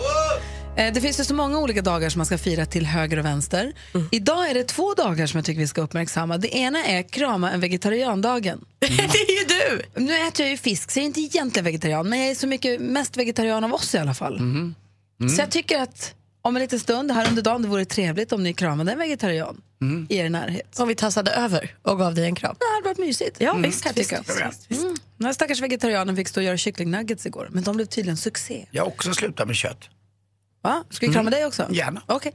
B: Eh, Det finns ju så många olika dagar som man ska fira till höger och vänster. Idag är det två dagar som jag tycker vi ska uppmärksamma. Det ena är krama en vegetariandagen.
D: *laughs* det är ju du!
B: Nu äter jag ju fisk, så jag är inte egentligen vegetarian. Men jag är så mycket mest vegetarian av oss i alla fall. Så jag tycker att om en liten stund här under dagen, det vore trevligt om ni kramade en vegetarian i er närhet.
D: Om vi tassade över och gav dig en kram.
B: Det hade varit mysigt.
D: Ja, visst,
B: kan jag
D: visst,
B: tycka.
D: visst, visst,
B: Mm. Den här stackars vegetarianen fick stå och göra kycklingnuggets igår, men de blev tydligen succé.
C: Jag har också slutat med kött.
B: Va? Ska vi krama
C: Mm.
B: dig också?
C: Gärna.
B: Okej.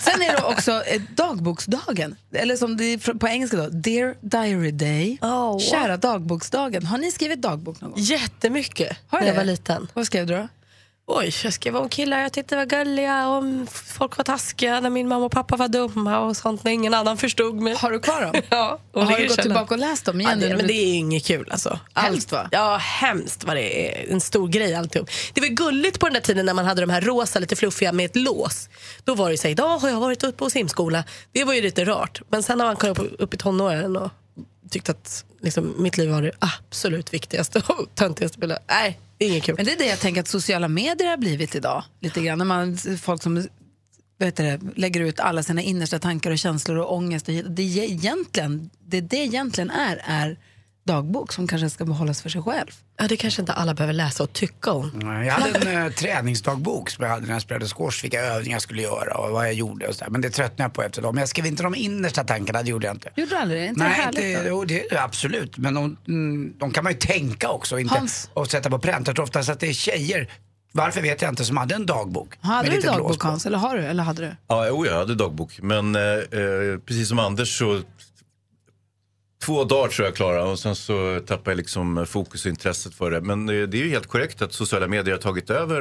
B: Sen är det också eh, dagboksdagen, eller som det är fr- på engelska då, Dear Diary Day.
D: Oh,
B: Kära dagboksdagen. Har ni skrivit dagbok någon gång?
D: Jättemycket
B: Har
D: när jag
B: det?
D: var liten.
B: Vad skrev du då?
D: Oj, jag skrev om killar jag tyckte var gulliga, om folk var taskiga, när min mamma och pappa var dumma och sånt när ingen annan förstod mig.
B: Har du kvar dem?
D: *laughs* ja. och
B: har
D: ligger
B: du
D: i
B: gått
D: källaren.
B: tillbaka och läst dem igen?
D: Ja,
B: nu
D: det,
B: när
D: men
B: du-
D: det är inget kul alltså.
B: Hemskt, va?
D: Ja, hemskt vad det är. En stor grej alltihop. Det var gulligt på den där tiden när man hade de här rosa, lite fluffiga med ett lås. Då var det ju så här, idag har jag varit uppe på simskola. Det var ju lite rart. Men sen har man kommit upp, upp i tonåren och tyckt att liksom, mitt liv var det absolut viktigaste och *laughs* töntigaste. bilden. Nej, det är inget kul.
B: Men det är det jag tänker att sociala medier har blivit idag. Lite grann. När man, folk som vet det, lägger ut alla sina innersta tankar och känslor och ångest. Och, hit- det, är egentligen, det det egentligen är, är dagbok som kanske ska behållas för sig själv.
D: Ja, det kanske inte alla behöver läsa och tycka om.
C: Nej, Jag hade en eh, träningsdagbok som jag hade när jag spelade squash, vilka övningar jag skulle göra och vad jag gjorde och sådär. Men det tröttnade jag på efter dem. Men jag skrev inte de innersta tankarna, det gjorde jag inte.
B: Gjorde du aldrig det? Inte det
C: Nej,
B: härligt?
C: det,
B: då?
C: jo, det, absolut. Men de, mm, de kan man ju tänka också och inte,
B: Hans.
C: och sätta på pränt. Jag tror oftast att det är tjejer, varför vet jag inte, som hade en dagbok.
B: Hade
C: med
B: du
C: lite blås
B: dagbok
C: på.
B: Hans? Eller har du? Eller hade du?
U: Ja, jo, jag hade dagbok. Men eh, eh, precis som Anders så... Två dagar tror jag klara och sen så tappade jag liksom fokus och intresset för det. Men eh, det är ju helt korrekt att sociala medier har tagit över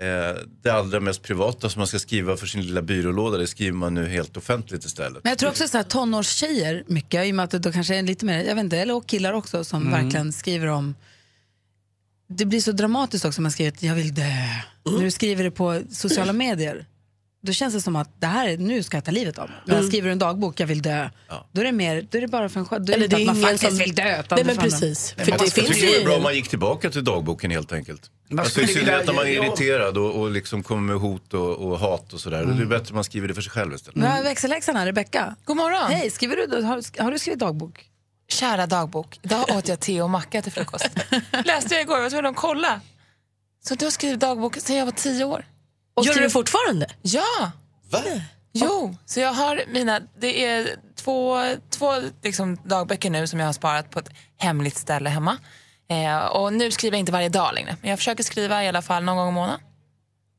U: eh, det allra mest privata som man ska skriva för sin lilla byrålåda. Det skriver man nu helt offentligt istället.
B: Men jag tror också så här, tonårstjejer mycket, i och med att det då kanske är lite mer, jag vet inte, eller och killar också som
U: Mm.
B: verkligen skriver om det blir så dramatiskt också om man skriver att jag vill dö.
D: Mm.
B: När du skriver det på sociala medier, då känns det som att det här är, nu ska jag ta livet av mig. Men
D: Mm.
B: skriver du en dagbok, jag vill dö, då är det mer, då är det bara för en skön, då är
D: Eller
B: det inte
D: det är
B: att man
D: ingen
B: faktiskt
D: som-
B: vill dö. utan
D: Nej,
B: det
D: men
B: är fan-
D: precis.
U: Nej, men
D: För det
U: jag
D: finns
U: tycker det
D: ju-
U: vore bra om man gick tillbaka till dagboken helt enkelt.
C: Man
U: Alltså, I
C: skulle
U: synnerhet
C: vilja-
U: om man är
C: ja.
U: irriterad och, och liksom kommer med hot och, och hat och sådär.
B: Mm.
U: Det är bättre att man skriver det för sig själv istället.
B: Nu har jag växelläxan här, Rebecka. Mm. God morgon. Hej, skriver du, har, har du skrivit dagbok?
V: Kära dagbok, idag åt jag te och macka
B: *laughs*
V: till frukost. Läste jag igår, jag var tvungen att kolla. Så du har skrivit dagbok sedan jag var tio år.
D: Gör du
V: skriver-
D: det fortfarande?
V: Ja.
U: Va?
V: Jo, så jag har mina, det är två, två liksom dagböcker nu som jag har sparat på ett hemligt ställe hemma. Eh, och nu skriver jag inte varje dag längre, men jag försöker skriva i alla fall någon gång i månaden.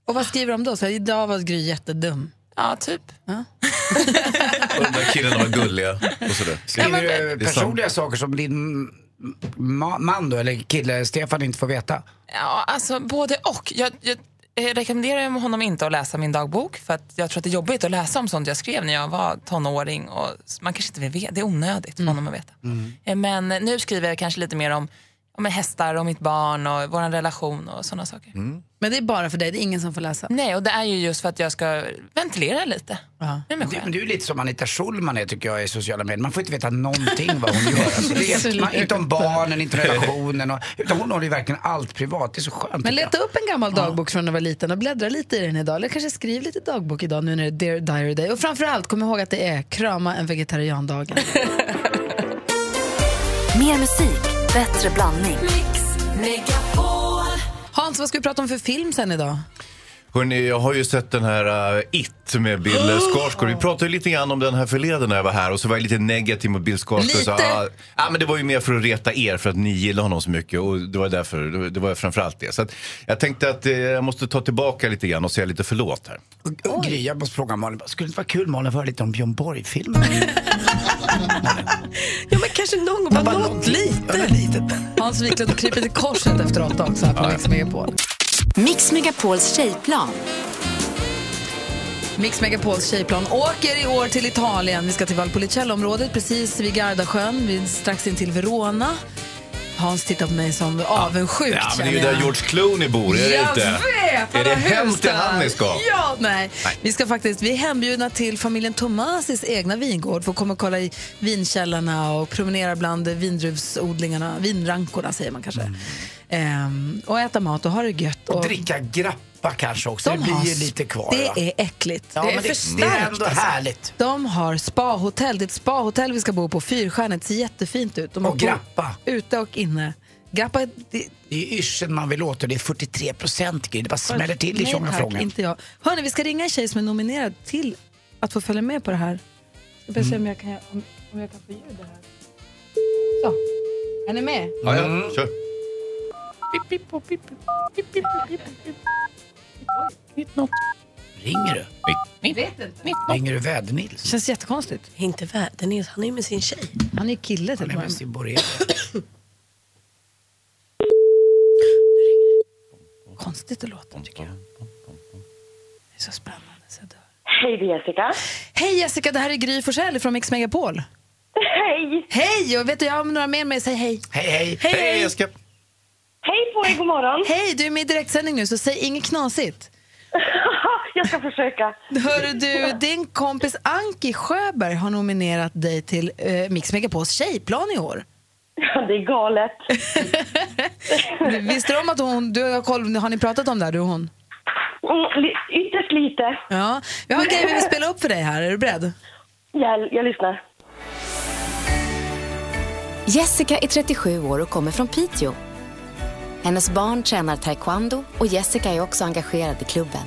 B: Och vad skriver de då? Så här, idag var Gry jättedum.
V: Ja, typ.
U: Och De där killarna var gulliga och sådär.
C: Skriver du
U: Det är sant.
C: personliga saker som din ma- man då, eller kille, Stefan inte får veta?
V: Ja, alltså både och. Jag, jag eh, rekommenderar ju honom inte att läsa min dagbok för att jag tror att det är jobbigt att läsa om sånt jag skrev när jag var tonåring. Och s- man kanske inte vill veta, det är onödigt
B: Mm.
V: för honom att veta. Eh, Men eh, nu skriver jag kanske lite mer om, om hästar och mitt barn och vår relation och sådana saker.
U: Mm.
B: Men det är bara för dig, det är ingen som får läsa.
V: Nej, och det är ju just för att jag ska ventilera lite.
C: Det, men det är ju lite som Anita Schulman är tycker jag i sociala medier. Man får inte veta någonting vad hon gör. Alltså, det är, man, inte om barnen, inte om relationen. Och, utan hon håller ju verkligen allt privat. Det är så skönt.
B: Men leta upp en gammal dagbok från när du var liten och bläddra lite i den idag. Eller kanske skriv lite dagbok idag nu när det är Dear Diary Day. Och framförallt, kom ihåg att det är krama en *laughs* vegetariandagen.
O: Mer musik, bättre blandning.
B: Hans, vad ska vi prata om för film sen idag?
U: Hörrni, jag har ju sett den här eh, It med Bill
B: *gasps*
U: Skarsgård. Vi pratade ju lite grann om den här förleden när jag var här och så var jag lite negativ mot Bill Skarsgård. Så,
A: Lite?
U: ah, ah, men det var ju mer för att reta er för att ni gillar honom så mycket och det var därför, det var framförallt det. Så att jag tänkte att eh, jag måste ta tillbaka lite grann och säga lite förlåt här.
C: Och, och Gry, jag måste fråga Malin. Skulle det inte vara kul Malin att höra lite om Björn Borg-filmen?
B: *laughs* Ja, men kanske någon gång, bara något lite. Hans Wiklund kryper till korset efter åtta också här på Mix Megapol.
O: Mix Megapols tjejplan.
B: Mix Megapols tjejplan åker i år till Italien. Vi ska till Valpolicellområdet, precis vid Gardasjön, vid, strax intill Verona. Hans tittar på mig som avundsjuk.
U: Ja, men det är ju
B: känner
U: där
B: jag.
U: George Clooney bor, är det
B: jag
U: inte?
B: vet!
U: Är det
B: han har
U: hem
B: hus
U: till
B: där?
U: han ni ska?
B: Ja, nej. Vi ska faktiskt, vi är hembjudna till familjen Tomasis egna vingård för att komma och kolla i vinkällarna och promenera bland vindruvsodlingarna, vinrankorna säger man kanske.
U: Mm.
B: Ehm, och äta mat och ha det gött.
C: Och dricka grappa kanske också.
B: De
C: det blir
B: har
C: ju
B: s-
C: lite kvar.
B: det
C: va?
B: är äckligt.
C: Ja, men det- det är ändå
B: alltså.
C: härligt.
B: De har spahotell. Det är ett spahotell vi ska bo på. Fyrstjärnigt. Det ser jättefint ut. De har
C: Och
B: bo-
C: grappa.
B: Ute och inne. Grappa är... Det,
C: Det är yrseln man vill åt och det är 43 procent Gry. Det bara smäller till
B: Nej,
C: i
B: tack,
C: tjongafrågan.
B: inte jag. Hörni, vi ska ringa en tjej som är nominerad till att få följa med på det här. Ska bara
C: Mm.
B: se om jag kan, om, om jag kan få ljud här. Så. Är ni med?
U: Ja, ja, kör.
B: Pip, pip, pip, pip, pip, pip, pip, pip.
C: Ringer du?
B: Vet inte.
C: Ringer du Väder-Nils?
B: Känns jättekonstigt.
D: Inte väder, han är ju med sin tjej.
B: Han är ju kille till och med. Konstigt det låter tycker jag. Det är så spännande så jag dör.
H: Hej, det är Jessica.
B: Hej Jessica, det här är Gry Forssell från Mix Megapol.
H: Hej!
B: Hej! Och vet du, jag har några med mig. Säg hej.
C: Hej, hej!
B: Hej, hej.
U: Jessica!
H: Hej på er, god morgon!
B: Hej, du är med i direktsändning nu så säg inget knasigt.
H: *laughs*
B: *laughs*
H: jag ska försöka.
B: Hörru du, din kompis Anki Sjöberg har nominerat dig till eh, Mix Megapols tjejplan i år.
H: Det är galet.
B: *laughs* Visste du om att hon, du har koll, har ni pratat om det här du och hon?
H: Mm, Ytterst lite.
B: Ja, vi har en grej vi vill spela upp för dig här, är du beredd?
H: Jag, jag lyssnar.
O: Jessica är 37 år och kommer från Piteå. Hennes barn tränar taekwondo och Jessica är också engagerad i klubben.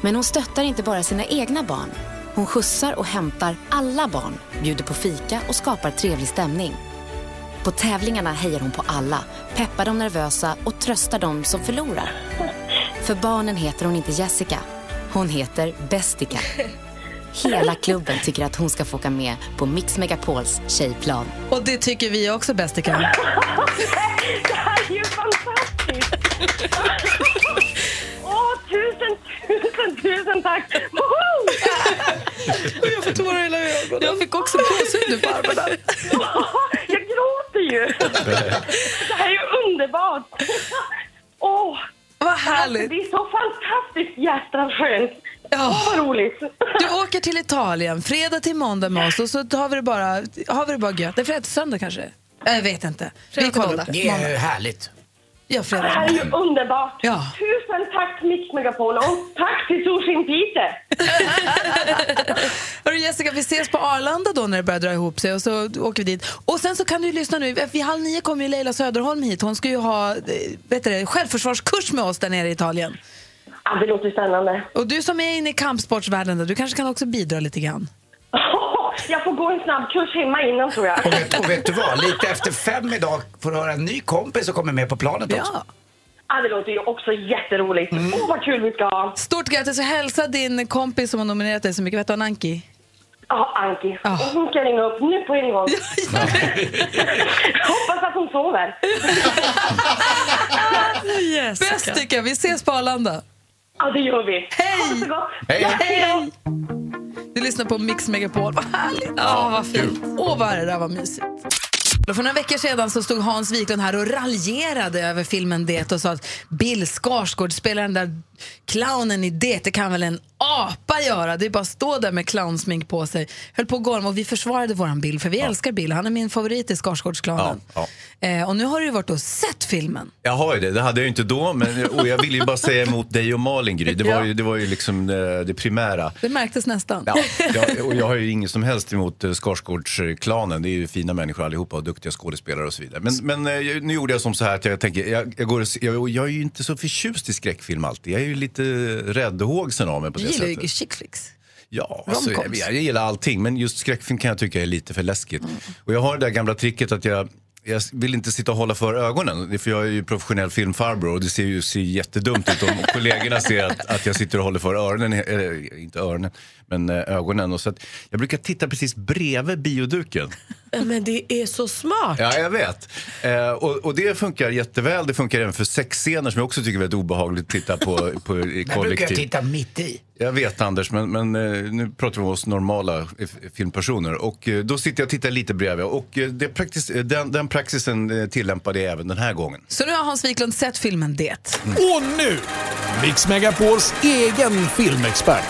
O: Men hon stöttar inte bara sina egna barn. Hon skjutsar och hämtar alla barn, bjuder på fika och skapar trevlig stämning. På tävlingarna hejar hon på alla, peppar de nervösa och tröstar de som förlorar. För barnen heter hon inte Jessica, hon heter Bestica. Hela klubben tycker att hon ska få åka med på Mix Megapols tjejplan.
B: Och det tycker vi också bäst i kan.
H: Det här är ju fantastiskt! Åh, tusen, tusen, tusen tack! Woho!
B: *laughs* Jag får tårar i hela ögonen. Jag fick också gåshud nu på armarna.
H: *laughs* Jag gråter ju! Det här är ju underbart! Åh! alltså,
B: Vad härligt!
H: Det är så fantastiskt jäkla skönt!
B: Ja.
H: Åh, vad roligt! *laughs*
B: Du åker till Italien fredag till måndag med oss och så har vi det bara, har vi det bara gött. Det är fredag till söndag kanske? Jag vet inte.
H: Fredag till
B: kollar
H: måndag.
B: upp
H: Det är
B: Måndag.
C: härligt.
B: Ja,
H: Det
B: Fredrik.
H: här är ju underbart.
B: Ja.
H: Tusen tack Mix Megapol och tack till Sushin Peter.
B: Hörru Jessica, vi ses på Arlanda då när det börjar dra ihop sig och så åker vi dit. Och sen så kan du ju lyssna nu, vid halv nio kommer ju Leila Söderholm hit. Hon ska ju ha eh, vet du, det, självförsvarskurs med oss där nere i Italien.
H: Ja, Ah, det låter spännande. *laughs*
B: Och du som är inne i kampsportsvärlden, där, du kanske kan också bidra lite grann.
H: Jag får gå en snabb kurs hemma innan tror jag.
C: Och vet, och vet du vad? Lite efter fem idag får du höra en ny kompis som kommer med på planet också.
H: Ja, Ah, det låter ju också jätteroligt.
B: Mm.
H: Åh, vad kul vi ska ha.
B: Stort grattis och hälsa din kompis som har nominerat dig så mycket. Vet du hon, Anki?
H: Ja, Anki. Och Hon ska ringa upp nu på en gång. Hoppas att hon
B: *laughs*
H: sover.
B: Bäst tycker jag, vi ses på Arlanda.
H: Ja, det gör vi.
B: Hej! Ha det så
H: gott.
B: Hej! Du lyssnar på Mix Megapol, vad härligt! Ja, vad fint. Åh, vad det där var mysigt. Och För några veckor sedan så stod Hans Wiklund här och raljerade över filmen Det och sa att Bill Skarsgård spelar den där clownen i Det. Det kan väl en apa göra? Det är bara att stå där med clownsmink på sig. Höll på att gorma och vi försvarade våran Bill för vi älskar Bill. Han är min favorit i
U: Ja,
B: Skarsgårdsclownen.
U: ja.
B: Eh, och nu har du ju varit och sett filmen.
U: Jag har ju det, det hade jag ju inte då. Men, och jag ville ju bara säga emot dig och Malin Gry. Det var ju, det var ju liksom eh, det primära.
B: Det märktes nästan.
U: Ja, jag, och jag har ju inget som helst emot eh, Skarsgårdsklanen. Det är ju fina människor allihopa och duktiga skådespelare och så vidare. Men, men eh, jag- nu gjorde jag som så här att jag tänker, jag, jag, går, och se- jag, jag är ju inte så förtjust i skräckfilm alltid. Jag är ju lite räddhågsen av mig på
B: Du
U: det
B: gillar
U: sättet.
B: ju chick flicks.
U: Ja, alltså, jag,
B: Romcoms.
U: jag gillar allting, men just skräckfilm kan jag tycka är lite för läskigt.
C: Mm.
U: Och jag har det där gamla tricket att jag, jag vill inte sitta och hålla för ögonen, Det är för jag är ju professionell filmfarbror och det ser ju ser ju jättedumt ut om kollegorna ser att, att jag sitter och håller för öronen, eller inte öronen, men eh, ögonen. Och så att jag brukar titta precis bredvid
C: *laughs*
U: bioduken.
D: Men det är så smart.
U: Ja, jag vet. Eh, och, och det funkar jätteväl. Det funkar även för sexscener som jag också tycker är väldigt obehagligt att titta på, på i
C: Där brukar jag
U: kollektiv.
C: titta mitt i.
U: Jag vet Anders, men, men eh, nu pratar vi om oss normala eh, filmpersoner. Och eh, då sitter jag och tittar lite bredvid. Och eh, det praktis, eh, den, den praxisen eh, tillämpade jag även den här gången.
B: Så nu har Hans Wiklund sett filmen Det.
G: Och nu, Mix Megapols e- egen filmexpert,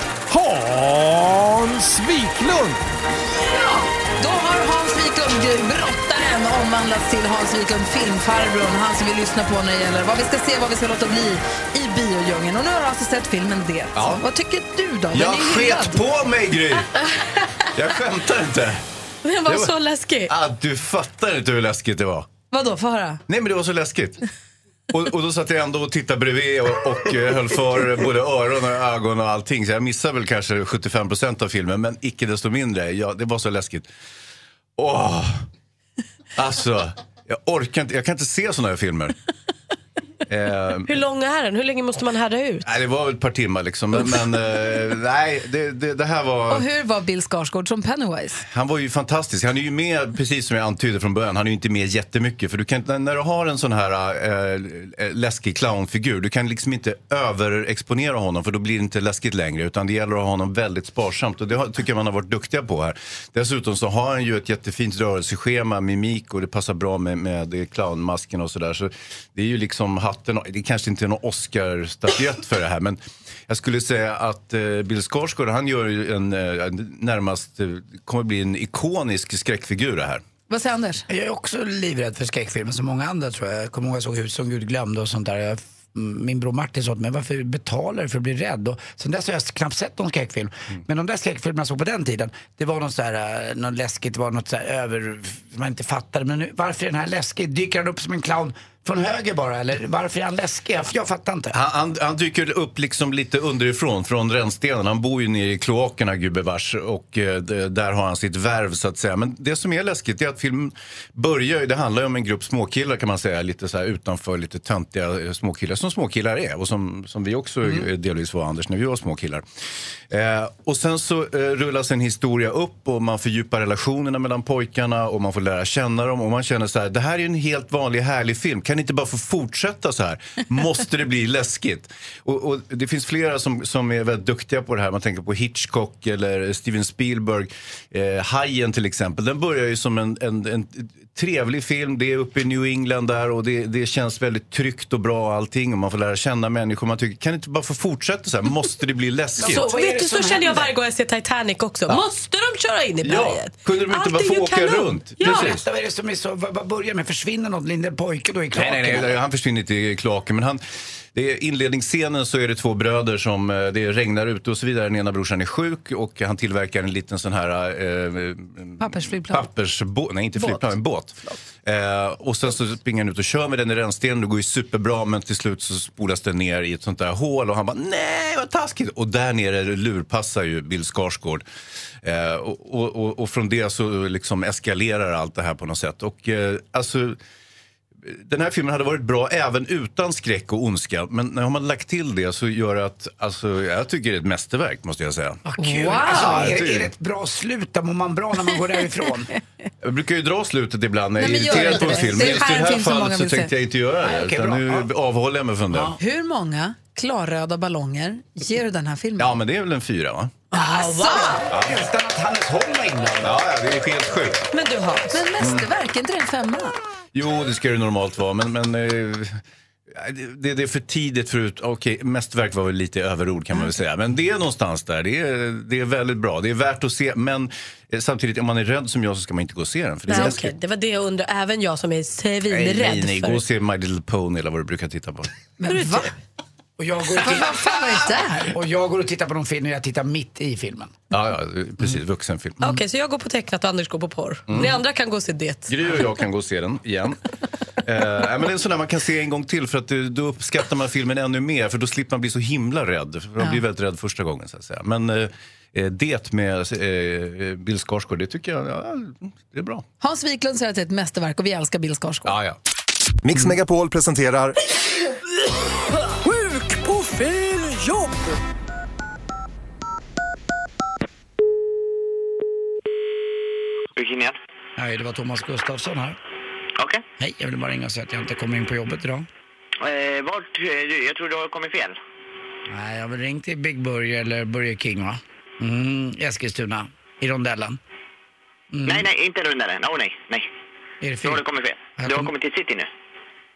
G: Hans Wiklund!
B: Då har Hans Wiklund, brottaren, omvandlats till Hans Wiklund, filmfarbrorn. Han som vi lyssnar på när det gäller vad vi ska se, vad vi ska låta bli i biodjungeln. Och nu har du alltså sett filmen Det.
U: Ja.
B: Vad tycker du då? Den
U: jag
B: är hyllad.
U: sket på mig Gry! Jag skämtar inte.
B: Den var så läskig.
U: Ah, du fattar inte hur läskigt det var.
B: Vadå, få höra.
U: Nej men det var så läskigt. Och, och då satt jag ändå och tittade bredvid och, och eh, höll för både öron och ögon och allting. Så jag missade väl kanske 75 procent av filmen, men icke desto mindre. Ja, det var så läskigt. Åh! Alltså, jag orkar inte. Jag kan inte se såna här filmer. Eh,
D: Hur lång är den? Hur länge måste man härda ut?
U: nej, det var väl ett par timmar liksom. Men, men eh, nej, det, det, det här
B: Och
U: var...
B: hur var Bill Skarsgård som Pennywise?
U: Han var ju fantastisk. Han är ju med, precis som jag antydde från början, han är ju inte med jättemycket. För du kan, när- när du har en sån här äh, äh, läskig clownfigur, du kan liksom inte överexponera honom för då blir det inte läskigt längre. Utan det gäller att ha honom väldigt sparsamt och det har, tycker jag man har varit duktiga på här. Dessutom så har han ju ett jättefint rörelseschema, mimik och det passar bra med, med clownmasken och sådär. Så det är ju liksom hatten, det kanske inte är någon Oscar-statyett för det här men jag skulle säga att eh, Bill Skarsgård, han gör ju en, eh, en närmast, eh, kommer bli en ikonisk skräckfigur det här.
B: Vad säger Anders?
C: Jag är också livrädd för skräckfilmer som många andra tror jag. Jag kommer ihåg jag såg Hus som Gud glömde och sånt där. Jag, mm, min bror Martin sa åt mig, varför betalar du för att bli rädd? Och sen dess har jag knappt sett någon skräckfilm.
U: Mm.
C: Men de där skräckfilmerna jag såg på den tiden, det var någon så här, eh, något läskigt, det var något så här över, man inte fattade. Men nu, varför är den här läskig? Dyker han upp som en clown från höger bara? Eller varför är han läskig? Jag, jag fattar inte.
U: Han, han, han dyker upp liksom lite underifrån, från rännstenen. Han bor ju nere i kloakerna gubevars och eh, d- där har han sitt värv så att säga. Men det som är läskigt är att filmen börjar ju, det handlar ju om en grupp småkillar kan man säga, lite så här utanför, lite töntiga eh, småkillar som småkillar är och som, som vi också eh, delvis var Anders när vi var småkillar. Eh, och sen så eh, rullas en historia upp och man fördjupar relationerna mellan pojkarna och man får lära känna dem och man känner så här, det här är ju en helt vanlig härlig film, kan det inte bara få fortsätta så här? Måste det bli läskigt? Och, och det finns flera som, som är väldigt duktiga på det här, man tänker på Hitchcock eller Steven Spielberg, eh, Hajen till exempel, den börjar ju som en, en, en trevlig film, det är uppe i New England där och det, det känns väldigt tryggt och bra allting och man får lära känna människor. Man tycker, kan det inte bara få fortsätta så här? Måste det bli läskigt?
D: Så, vet du, så kände jag varje gång jag ser Titanic också.
U: Ja.
D: Måste de köra in i
U: Ja,
D: berget?
U: kunde de inte
D: Allt
U: bara
D: är ju
U: få åka
D: kanon.
U: runt?
C: Ja.
U: Precis.
C: Berätta vad är det som är så, vad, vad börjar med? Försvinner någon liten pojke då i
U: Nej,
C: klaken?
U: nej, nej, han försvinner inte i klaken. Men han, det är inledningsscenen så är det två bröder som eh, det regnar ute och så vidare. Den ena brorsan är sjuk och han tillverkar en liten sån här eh,
B: Pappersflygplan.
U: pappersbåt, nej inte
B: Båt.
U: flygplan, en båt. Eh, och sen så springer han ut och kör med den i rännstenen, det går ju superbra men till slut så spolas den ner i ett sånt där hål och han bara nej vad taskigt. Och där nere lurpassar ju Bill Skarsgård. Eh, och, och, och, och från det så liksom eskalerar allt det här på något sätt. Och eh, alltså den här filmen hade varit bra även utan skräck och ondska. Men när man lagt till det så gör det att, alltså, jag tycker det är ett mästerverk måste jag säga.
C: Kul.
U: Wow.
C: Alltså, är,
U: Typ.
C: det- är det ett bra slut? Då mår man bra när man
U: *laughs*
C: går därifrån.
U: Jag brukar ju dra slutet ibland när jag
C: Nej,
U: är
C: men gör
U: irriterad
C: inte
U: på en
C: det.
U: film.
C: Det
U: Men
C: är
U: just i det
C: här en
U: här
C: film som
U: fallet
C: många
U: så
C: vill
U: tänkte
C: se.
U: jag inte göra
C: Nej,
U: det.
C: okej,
U: utan
C: bra.
U: nu avhåller jag mig från det.
B: Hur många klarröda ballonger ger du den här filmen?
U: Ja, men det är väl en fyra va? Ja.
C: Utan att Hannes Holm var inblandad.
U: Ja, ja, det är helt sjukt.
B: Men du har... Men mästerverk, är inte det en femma?
U: Jo, det ska det normalt vara, men... men eh, det, det är för tidigt förut. Okej, mästerverk var väl lite överord kan man
C: Mm.
U: väl säga. Men det är någonstans där. Det är, det är väldigt bra. Det är värt att se. Men eh, samtidigt, om man är rädd som jag så ska man inte gå och se den. För det är
D: Nej,
U: läskigt.
D: okej. Det var det jag undrar. Även jag som är
U: Nej, nej,
D: svinrädd
U: nej. Gå
D: för...
U: och se My Little Pony eller vad du brukar titta
C: *laughs*
U: på.
B: Men va?
C: Och jag går och tittar, och jag går och tittar på de filmer jag tittar mitt i filmen. Mm.
U: Ja, ja precis. Vuxenfilm.
D: Okej, så jag går på tecknat och Anders går på porr.
U: Mm.
D: Ni andra kan gå och se det.
U: Gry och jag kan gå och se den igen. Eh, nej, men det är en sån där man kan se en gång till för att eh, då uppskattar man filmen ännu mer för då slipper man bli så himla rädd. För man
B: Ja.
U: blir väldigt rädd första gången så att säga. Men eh, eh, det med eh, Bill Skarsgård, det tycker jag ja, det är bra.
B: Hans Wiklund säger att det är ett mästerverk och vi älskar Bill Skarsgård.
U: Ja, ja.
L: Mix Megapol presenterar
B: Sjuk på fel jobb!
W: Virginia?
C: Nej, det var Thomas Gustafsson här.
W: Okej.
C: Hej, jag ville bara ringa och säga att jag inte kommer in på jobbet idag.
W: Eh, vart är du? Jag tror du har kommit fel.
C: Nej, jag har väl ringt till Big Burger eller Burger King va? Mm, Eskilstuna, i rondellen. Mm.
W: Nej, nej, inte rundaren. Åh nej, nej.
C: Är det
W: Du
C: fel?
W: har du kommit fel.
C: Jag
W: Du har
C: kom-
W: kommit till city nu.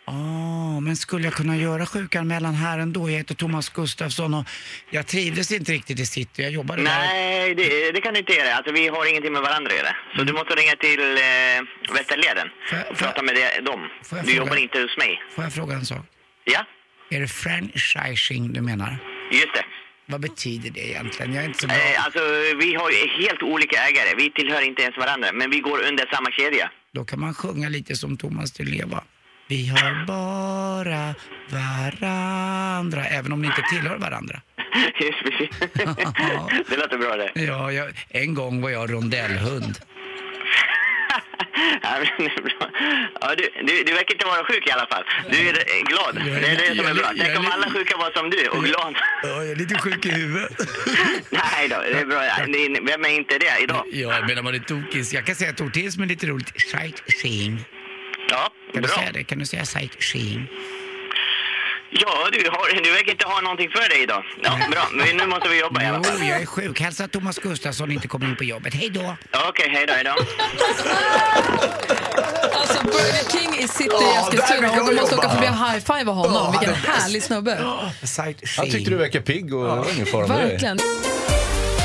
C: Ah, men skulle jag kunna göra sjukanmälan här ändå? Jag heter Thomas Gustafsson och jag trivdes inte riktigt i city. Jag jobbade där.
W: Nej, det, det kan du inte göra. Alltså, vi har ingenting med varandra att göra.
C: Mm.
W: Så du måste ringa till eh, Västerleden och prata med de- dem.
C: får jag
W: Du
C: fråga-
W: jobbar inte hos mig.
C: Får jag fråga en sak?
W: Ja,
C: Är det franchising du menar?
W: just det.
C: Vad betyder det egentligen? Jag är inte så bra.
W: Eh, alltså, vi har ju helt olika ägare. Vi tillhör inte ens varandra, men vi går under samma
C: *laughs*
W: kedja. *laughs*
C: Då kan man sjunga lite som Thomas Di Leva. Vi har bara varandra, även om ni inte tillhör varandra.
W: Just precis. det låter bra det.
C: Ja, jag, en gång var jag rondellhund.
W: *laughs* Ja, men det är bra. Ja, du, du, du verkar inte vara sjuk i alla fall. Du är eh, glad. Det är det som är bra. Tänk om alla sjuka var som du och glad.
C: Ja, jag är *laughs* lite sjuk i huvudet.
W: *laughs* Nej då, det är bra. Det är- Vem är inte det idag?
C: Ja, men om man är tokis. Jag kan säga ett ord till som är lite roligt. Sightseeing.
W: Ja,
C: Kan du
W: bra.
C: säga det? Kan du säga sightseeing?
W: Ja, du, har, du verkar inte ha någonting för dig idag. Ja, bra. Men nu måste vi jobba i alla fall.
C: Jo, jag är sjuk. Hälsa att Thomas Gustafsson inte kommer in på jobbet. Hej då!
W: Ja, Okej, hej då, hej då.
B: Alltså Burger King i city i
W: Ja, där vill
B: Eskilstuna
W: jag
B: och du måste
U: jobba.
B: åka förbi och high-fivea honom.
U: Ja,
B: Vilken
U: det är
B: härlig snubbe.
U: Jag tyckte du verkar pigg och det var ingen fara med dig.
B: Verkligen.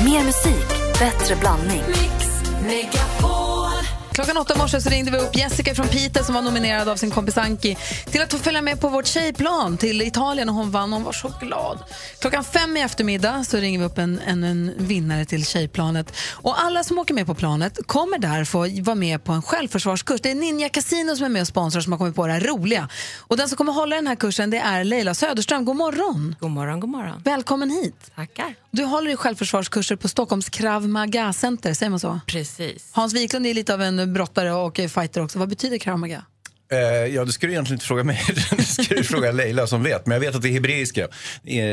O: Mer musik, bättre blandning.
B: Klockan åtta i morse så ringde vi upp Jessica från Piteå som var nominerad av sin kompis Anki till att få följa med på vårt tjejplan till Italien och hon vann. Hon var så glad. Klockan fem i eftermiddag så ringer vi upp en, en, en vinnare till tjejplanet. Och alla som åker med på planet kommer där få vara med på en självförsvarskurs. Det är Ninja Casino som är med och sponsrar som har kommit på det här roliga. Och den som kommer hålla den här kursen det är Leila Söderström. God morgon!
A: God morgon, god morgon.
B: Välkommen hit!
A: Tackar.
B: Du håller i självförsvarskurser på Stockholms Krav Maga Center, säger man så?
A: Precis.
B: Hans Wiklund är lite av en brottare och fighter också. Vad betyder Krav Maga?
U: Eh, ja, du skulle egentligen inte fråga mig. *laughs* Du skulle fråga Leila som vet. Men jag vet att det är hebreiska. Eh,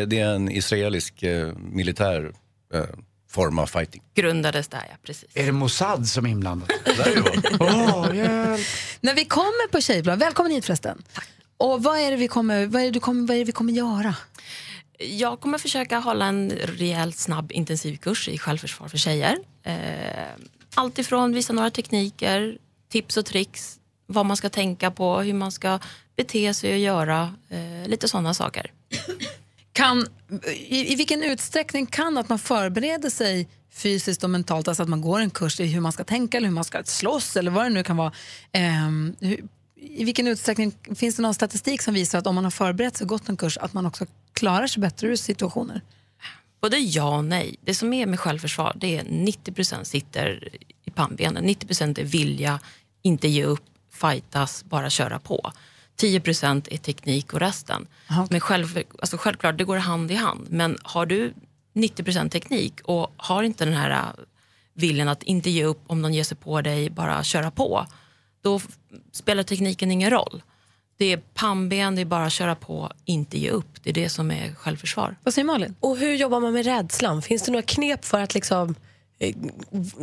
U: Det är en israelisk eh, militär eh, form av fighting.
A: Grundades där, ja. Precis.
C: Är det Mossad som är *laughs* inblandad?
B: När vi kommer på Tjejplan, välkommen hit förresten. Och vad är det vi kommer, vad är det du kommer, vad är det vi kommer göra?
A: Jag kommer försöka hålla en rejält snabb intensivkurs i självförsvar för tjejer. Eh, allt ifrån visa några tekniker, tips och tricks vad man ska tänka på, hur man ska bete sig och göra. Eh, lite sådana saker.
B: Kan, i, I vilken utsträckning kan att man förbereder sig fysiskt och mentalt, alltså att man går en kurs i hur man ska tänka eller hur man ska slåss eller vad det nu kan vara. ehm, hur, I vilken utsträckning, finns det någon statistik som visar att om man har förberett sig och gått en kurs att man också klarar sig bättre ur situationer?
A: Både ja och nej. Det som är med självförsvar det är 90 sitter i pannbenen. 90 är vilja, inte ge upp, fightas, bara köra på. 10 är teknik och resten. Men själv, alltså självklart, det går hand i hand. Men har du 90 teknik och har inte den här äh, viljan att inte ge upp om någon ger sig på dig, bara köra på, då f- spelar tekniken ingen roll. Det är pannben, det är bara köra på, inte ge upp. Det är det som är självförsvar.
B: Vad säger Malin?
D: Och hur jobbar man med rädslan? Finns det några knep för att liksom eh,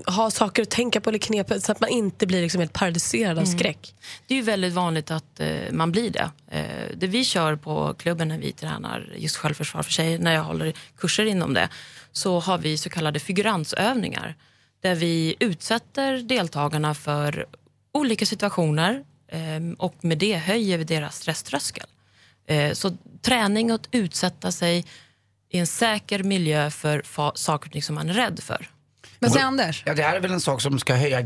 D: ha saker att tänka på eller knep så att man inte blir liksom helt paralyserad av
A: Mm.
D: skräck.
A: Det är ju väldigt vanligt att eh, man blir det. Eh, det vi kör på klubben när vi tränar just självförsvar för sig, när jag håller kurser inom det, så har vi så kallade figuransövningar där vi utsätter deltagarna för olika situationer eh, och med det höjer vi deras stresströskel. Eh, så träning att utsätta sig i en säker miljö för fa- saker och ting som man är rädd för.
B: Vad säger Anders?
C: Ja, det här är väl en sak som ska höja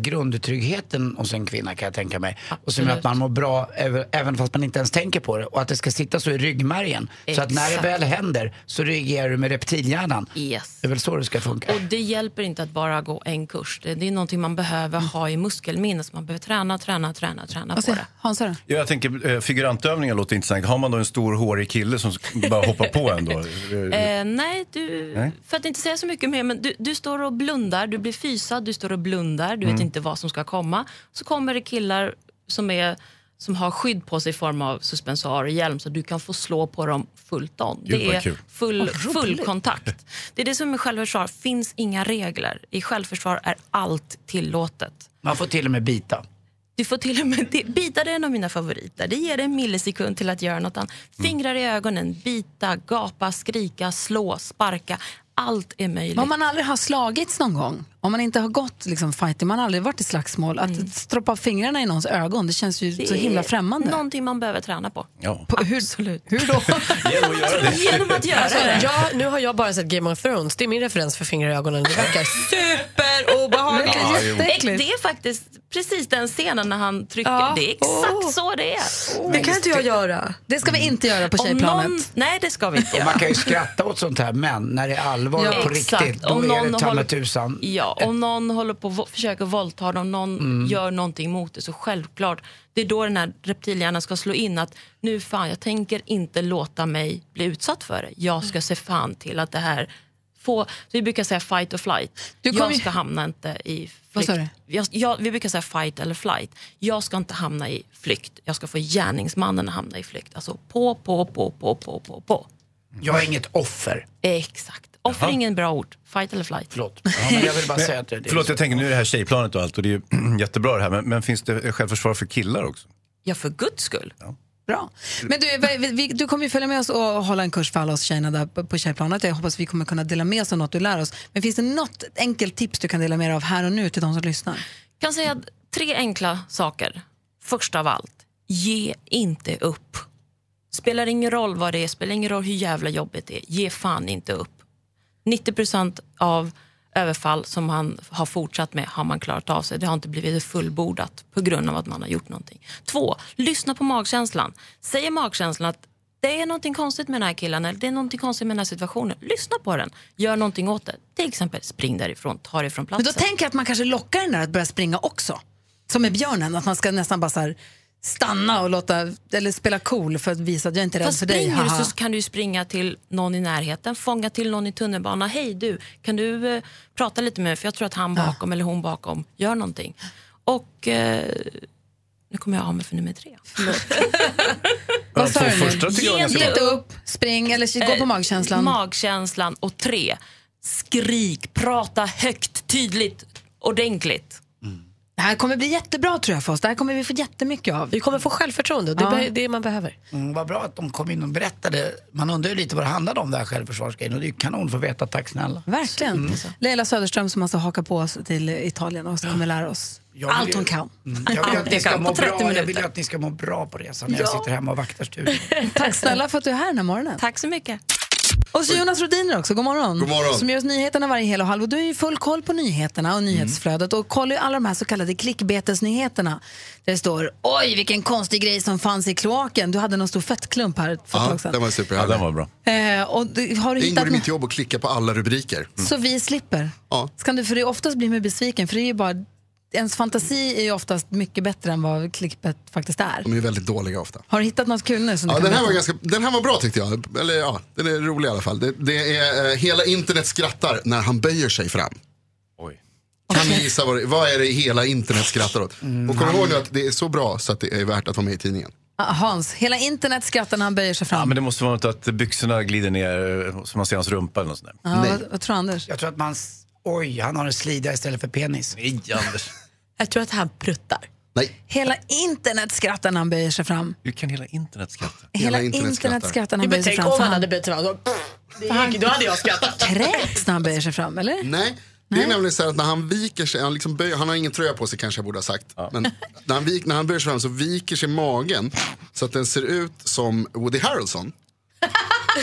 C: grundtryggheten hos en kvinna kan jag tänka mig. Och som gör att man mår bra även- även fast man inte ens tänker på det. Och att det ska sitta så i ryggmärgen. Så att när det
A: Exakt.
C: väl händer så reagerar du med reptilhjärnan.
A: Yes.
C: Det är väl så det ska funka.
A: Och det hjälper inte att bara gå en kurs. Det, det är någonting man behöver ha i muskelminnet. Så Man behöver träna, träna, träna, träna på det.
B: Hansa då?
U: Ja, jag tänker eh, figurantövningar låter intressant. Har man då en stor hårig kille som sk- bara hoppar på en då?
A: Eh, nej, du,
U: Nej.
A: för att inte säga så mycket mer, men du, du står och blundar, du blir fysad, du står och blundar, du vet
U: Mm.
A: inte vad som ska komma. Så kommer det killar som, är, som har skydd på sig i form av suspensoar och hjälm så du kan få slå på dem fullt on.
N: Gud,
A: det
N: vad
A: är
N: kul.
A: full,
N: Vad roligt.
A: full kontakt. Det är det som är självförsvar, finns inga regler. I självförsvar är allt tillåtet.
C: Man får till och med bita.
A: Du får till och med det, bita, det är en av mina favoriter. Det ger dig en millisekund till att göra något annat. Fingrar i ögonen, bita, gapa, skrika, slå, sparka. Allt är möjligt.
B: Men Om man aldrig har slagits någon gång, om man inte har gått liksom, fighting, man har aldrig varit i slagsmål, att stroppa fingrarna i någons ögon, det känns ju så
A: Mm. Det är
B: himla främmande.
A: Någonting man behöver träna på.
U: Ja.
B: På, hur,
A: Absolut.
B: Hur då?
A: *laughs* Genom att göra
D: Alltså,
A: det.
D: jag, nu har jag bara sett Game of Thrones. Det är min referens för fingrar i ögonen. Det verkar superobehagligt.
A: Ja, jo. Ex- det är faktiskt precis den scenen när han trycker.
D: Ja.
A: Det är exakt så det är.
D: Det kan inte jag göra.
B: Det ska vi inte göra på
A: Om
B: tjejplanet.
A: någon- Nej, det ska vi inte
C: Och
A: göra.
C: man kan ju skratta åt sånt här men när det är allvar
A: Ja.
C: på
A: Exakt.
C: riktigt då
A: Om
C: är
A: någon
C: det ta
A: håller-
C: mig tusan.
A: Ja, om någon håller på och vo- försöker våldta dem, om någon
C: Mm.
A: gör någonting mot det så självklart, det är då den här reptilhjärnan ska slå in att nu fan, jag tänker inte låta mig bli utsatt för det. Jag
B: Mm.
A: ska se fan till att det här får, vi brukar säga fight or flight.
B: Du kom
A: jag
B: ju-
A: ska hamna inte i
B: Vad
A: flykt.
B: sa du?
A: Jag, jag, vi brukar säga fight eller flight. Jag ska inte hamna i flykt. Jag ska få gärningsmannen att hamna i flykt. Alltså på, på, på, på, på, på, på.
C: Jag är inget offer.
A: Exakt. Offer är ingen bra ord. Fight eller flight.
C: Förlåt. Ja, men jag vill bara säga att det är
U: Förlåt, jag tänker nu är det här tjejplanet och allt och det är ju *clears throat* jättebra det här. Men, men finns det självförsvar för killar också?
A: Ja, för guds skull.
B: Bra. Men du, vad- vi- vi- du kommer ju följa med oss och hålla en kurs för alla oss tjejerna där på- på tjejplanet. Jag hoppas vi kommer kunna dela med oss av något du lär oss. Men finns det något enkelt tips du kan dela med dig av här och nu till de som lyssnar?
A: kan säga att tre enkla saker. Först av allt, ge inte upp. Spelar ingen roll vad det är, spelar ingen roll hur jävla jobbigt det är. Ge fan inte upp. 90 av överfall som han har fortsatt med har man klarat av sig. Det har inte blivit fullbordat på grund av att man har gjort någonting. Två, lyssna på magkänslan. Säger magkänslan att det är någonting konstigt med den här killen eller det är någonting konstigt med den här situationen. Lyssna på den. Gör någonting åt det. Till exempel spring därifrån, ta dig från
B: Men
A: platsen.
B: då tänker jag att man kanske lockar den där att börja springa också. Som med björnen, att man ska nästan bara så här stanna och låta, eller spela cool för att visa att jag inte är rädd
A: Fast
B: för dig.
A: springer
B: haha.
A: du så kan du ju springa till någon i närheten, fånga till någon i tunnelbanan. Hej du, kan du eh, prata lite med mig för jag tror att han bakom eller hon bakom gör någonting. Och eh, nu kommer jag av mig för nummer tre. *laughs*
B: Vad sa
A: två
B: du
A: första tycker jag
B: nu?
A: är ganska
B: Ge inte
A: bra.
B: upp, spring eller gå på
A: Eh,
B: magkänslan.
A: Magkänslan och tre, skrik, prata högt, tydligt, ordentligt.
B: Det här kommer bli jättebra tror jag för oss. Det här kommer vi få jättemycket av.
D: Vi kommer få självförtroende.
A: Det
D: be- det man behöver.
C: Mm, vad bra att de kom in och berättade. Man undrar ju lite vad det handlade om det här självförsvarsgrejen och det är ju kanon för att veta. Tack snälla. Mm.
B: alltså Verkligen. Leila Söderström som alltså hakar på oss till Italien och som kommer lära oss
C: Jag vill
B: Allt hon
C: ju-
B: kan.
C: Mm. Jag vill,
B: Allt
C: att ni
B: jag
C: ska
B: kan
C: må
B: på 30
C: bra. jag vill
B: minuter.
C: ju att ni ska må bra på resan när jag
B: Ja.
C: sitter hemma och vaktar studion.
B: *laughs* Tack snälla för att du är här den här morgonen.
X: Tack så mycket.
B: Och så Jonas Rodiner också, god morgon.
Y: God morgon. Mm.
B: Som gör oss nyheterna varje hel och halv. Och du är ju full koll på nyheterna och nyhetsflödet och kollar ju alla de här så kallade klickbetesnyheterna. Där det står oj vilken konstig grej som fanns i kloaken. Du hade någon stor fettklump här för ett
Y: Ja,
B: tag sedan.
Y: den var superhärlig. den var bra.
B: Eh, och du, har du
Y: Det
B: hittat
Y: ingår
B: något
Y: i mitt jobb att klicka på alla rubriker. Mm.
B: så vi slipper?
Y: Ja.
B: Så kan du, för det oftast blir man ju besviken för det är ju bara, ens fantasi är ju oftast mycket bättre än vad klickbet faktiskt är.
Y: De är ju väldigt dåliga ofta.
B: Har du hittat något kul nu? Som
Y: Ja,
B: du kan
Y: den, här var
B: berätta?
Y: ganska, den här var bra tyckte jag. Eller, ja, den är rolig i alla fall. Det, det är, eh, hela internet skrattar när han böjer sig fram. Kan ni gissa vad det, vad är det hela internet skrattar åt?
B: Mm.
Y: Och kom ihåg nu att det är så bra så att det är värt att vara med i tidningen.
B: Ah, Hans, hela internet skrattar när han böjer sig fram.
U: Ja, men det måste vara något att byxorna glider ner eh, så man ser hans rumpa eller något sånt
Y: Ah,
U: där.
B: Ja, vad, vad tror du Anders?
C: Jag tror att man... s- Oj, han har en slida istället för penis.
U: Nej, Anders.
B: Jag tror att han pruttar.
Y: Nej.
B: Hela internet skrattar när han böjer sig fram.
U: Hur kan hela internet skratta?
B: Hela internet skrattar när
D: Men
B: han böjer sig
D: tänk
B: fram.
D: om
B: för
D: han hade böjt sig fram. Då- Det gick- Då hade jag skrattat.
B: kräks när han böjer sig fram, eller?
Y: Nej, det är nämligen så här att när han viker sig, han, liksom böjer, han har ingen tröja på sig kanske jag borde ha sagt. Men när han, vik, när han böjer sig fram så viker sig magen så att den ser ut som Woody Harrelson.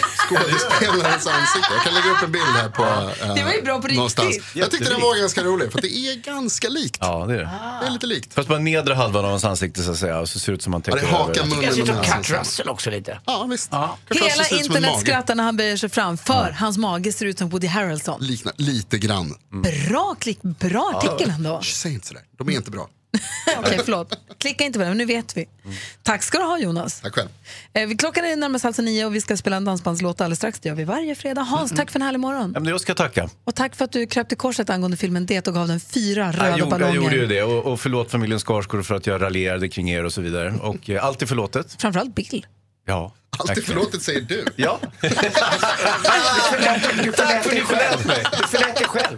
Y: Skådespelarens ansikte. Jag kan lägga upp en bild här på eh,
B: Det var ju bra på riktigt.
Y: någonstans. Jag tyckte den
U: Jättelikt.
Y: var ganska rolig för att det är ganska likt.
U: Ja, det är det.
Y: Det är lite likt.
U: Fast på den nedre halvan av hans ansikte så att säga, och så ser det ut som han täcker
Y: det är hakan,
U: över.
Y: munnen Jag tycker och jag ser ut som näsan. Kurt
C: Russell också lite.
Y: Ja, visst.
B: Hela
Y: Fast det ser ut som en
B: internet
Y: mage.
B: skrattar när han böjer sig fram för hans mage ser ut som Woody Harrelson.
Y: Likna, lite grann.
B: Mm. Bra klick, bra artikel ändå.
Y: Säg inte sådär, de är inte bra.
B: *laughs* Okej, förlåt. Klicka inte på den, men nu vet vi. Tack ska du ha Jonas.
Y: Tack själv.
B: Eh, vi- klockan är närmast halv nio och vi ska spela en dansbandslåt alldeles strax. Det gör vi varje fredag. Hans, tack för en härlig morgon.
U: Ja, men jag ska tacka.
B: Och tack för att du kröp till korset angående filmen Det och gav den fyra röda
U: jag, gjorde, jag
B: ballonger.
U: gjorde ju det och, och förlåt familjen Skarsgård för att jag raljerade kring er och så vidare. Och eh, allt är förlåtet.
B: Framförallt Bill.
U: Ja.
Y: Allt är förlåtet säger du. *laughs*
U: Ja.
C: Tack för att du förlät
U: mig.
C: Du förlät dig själv.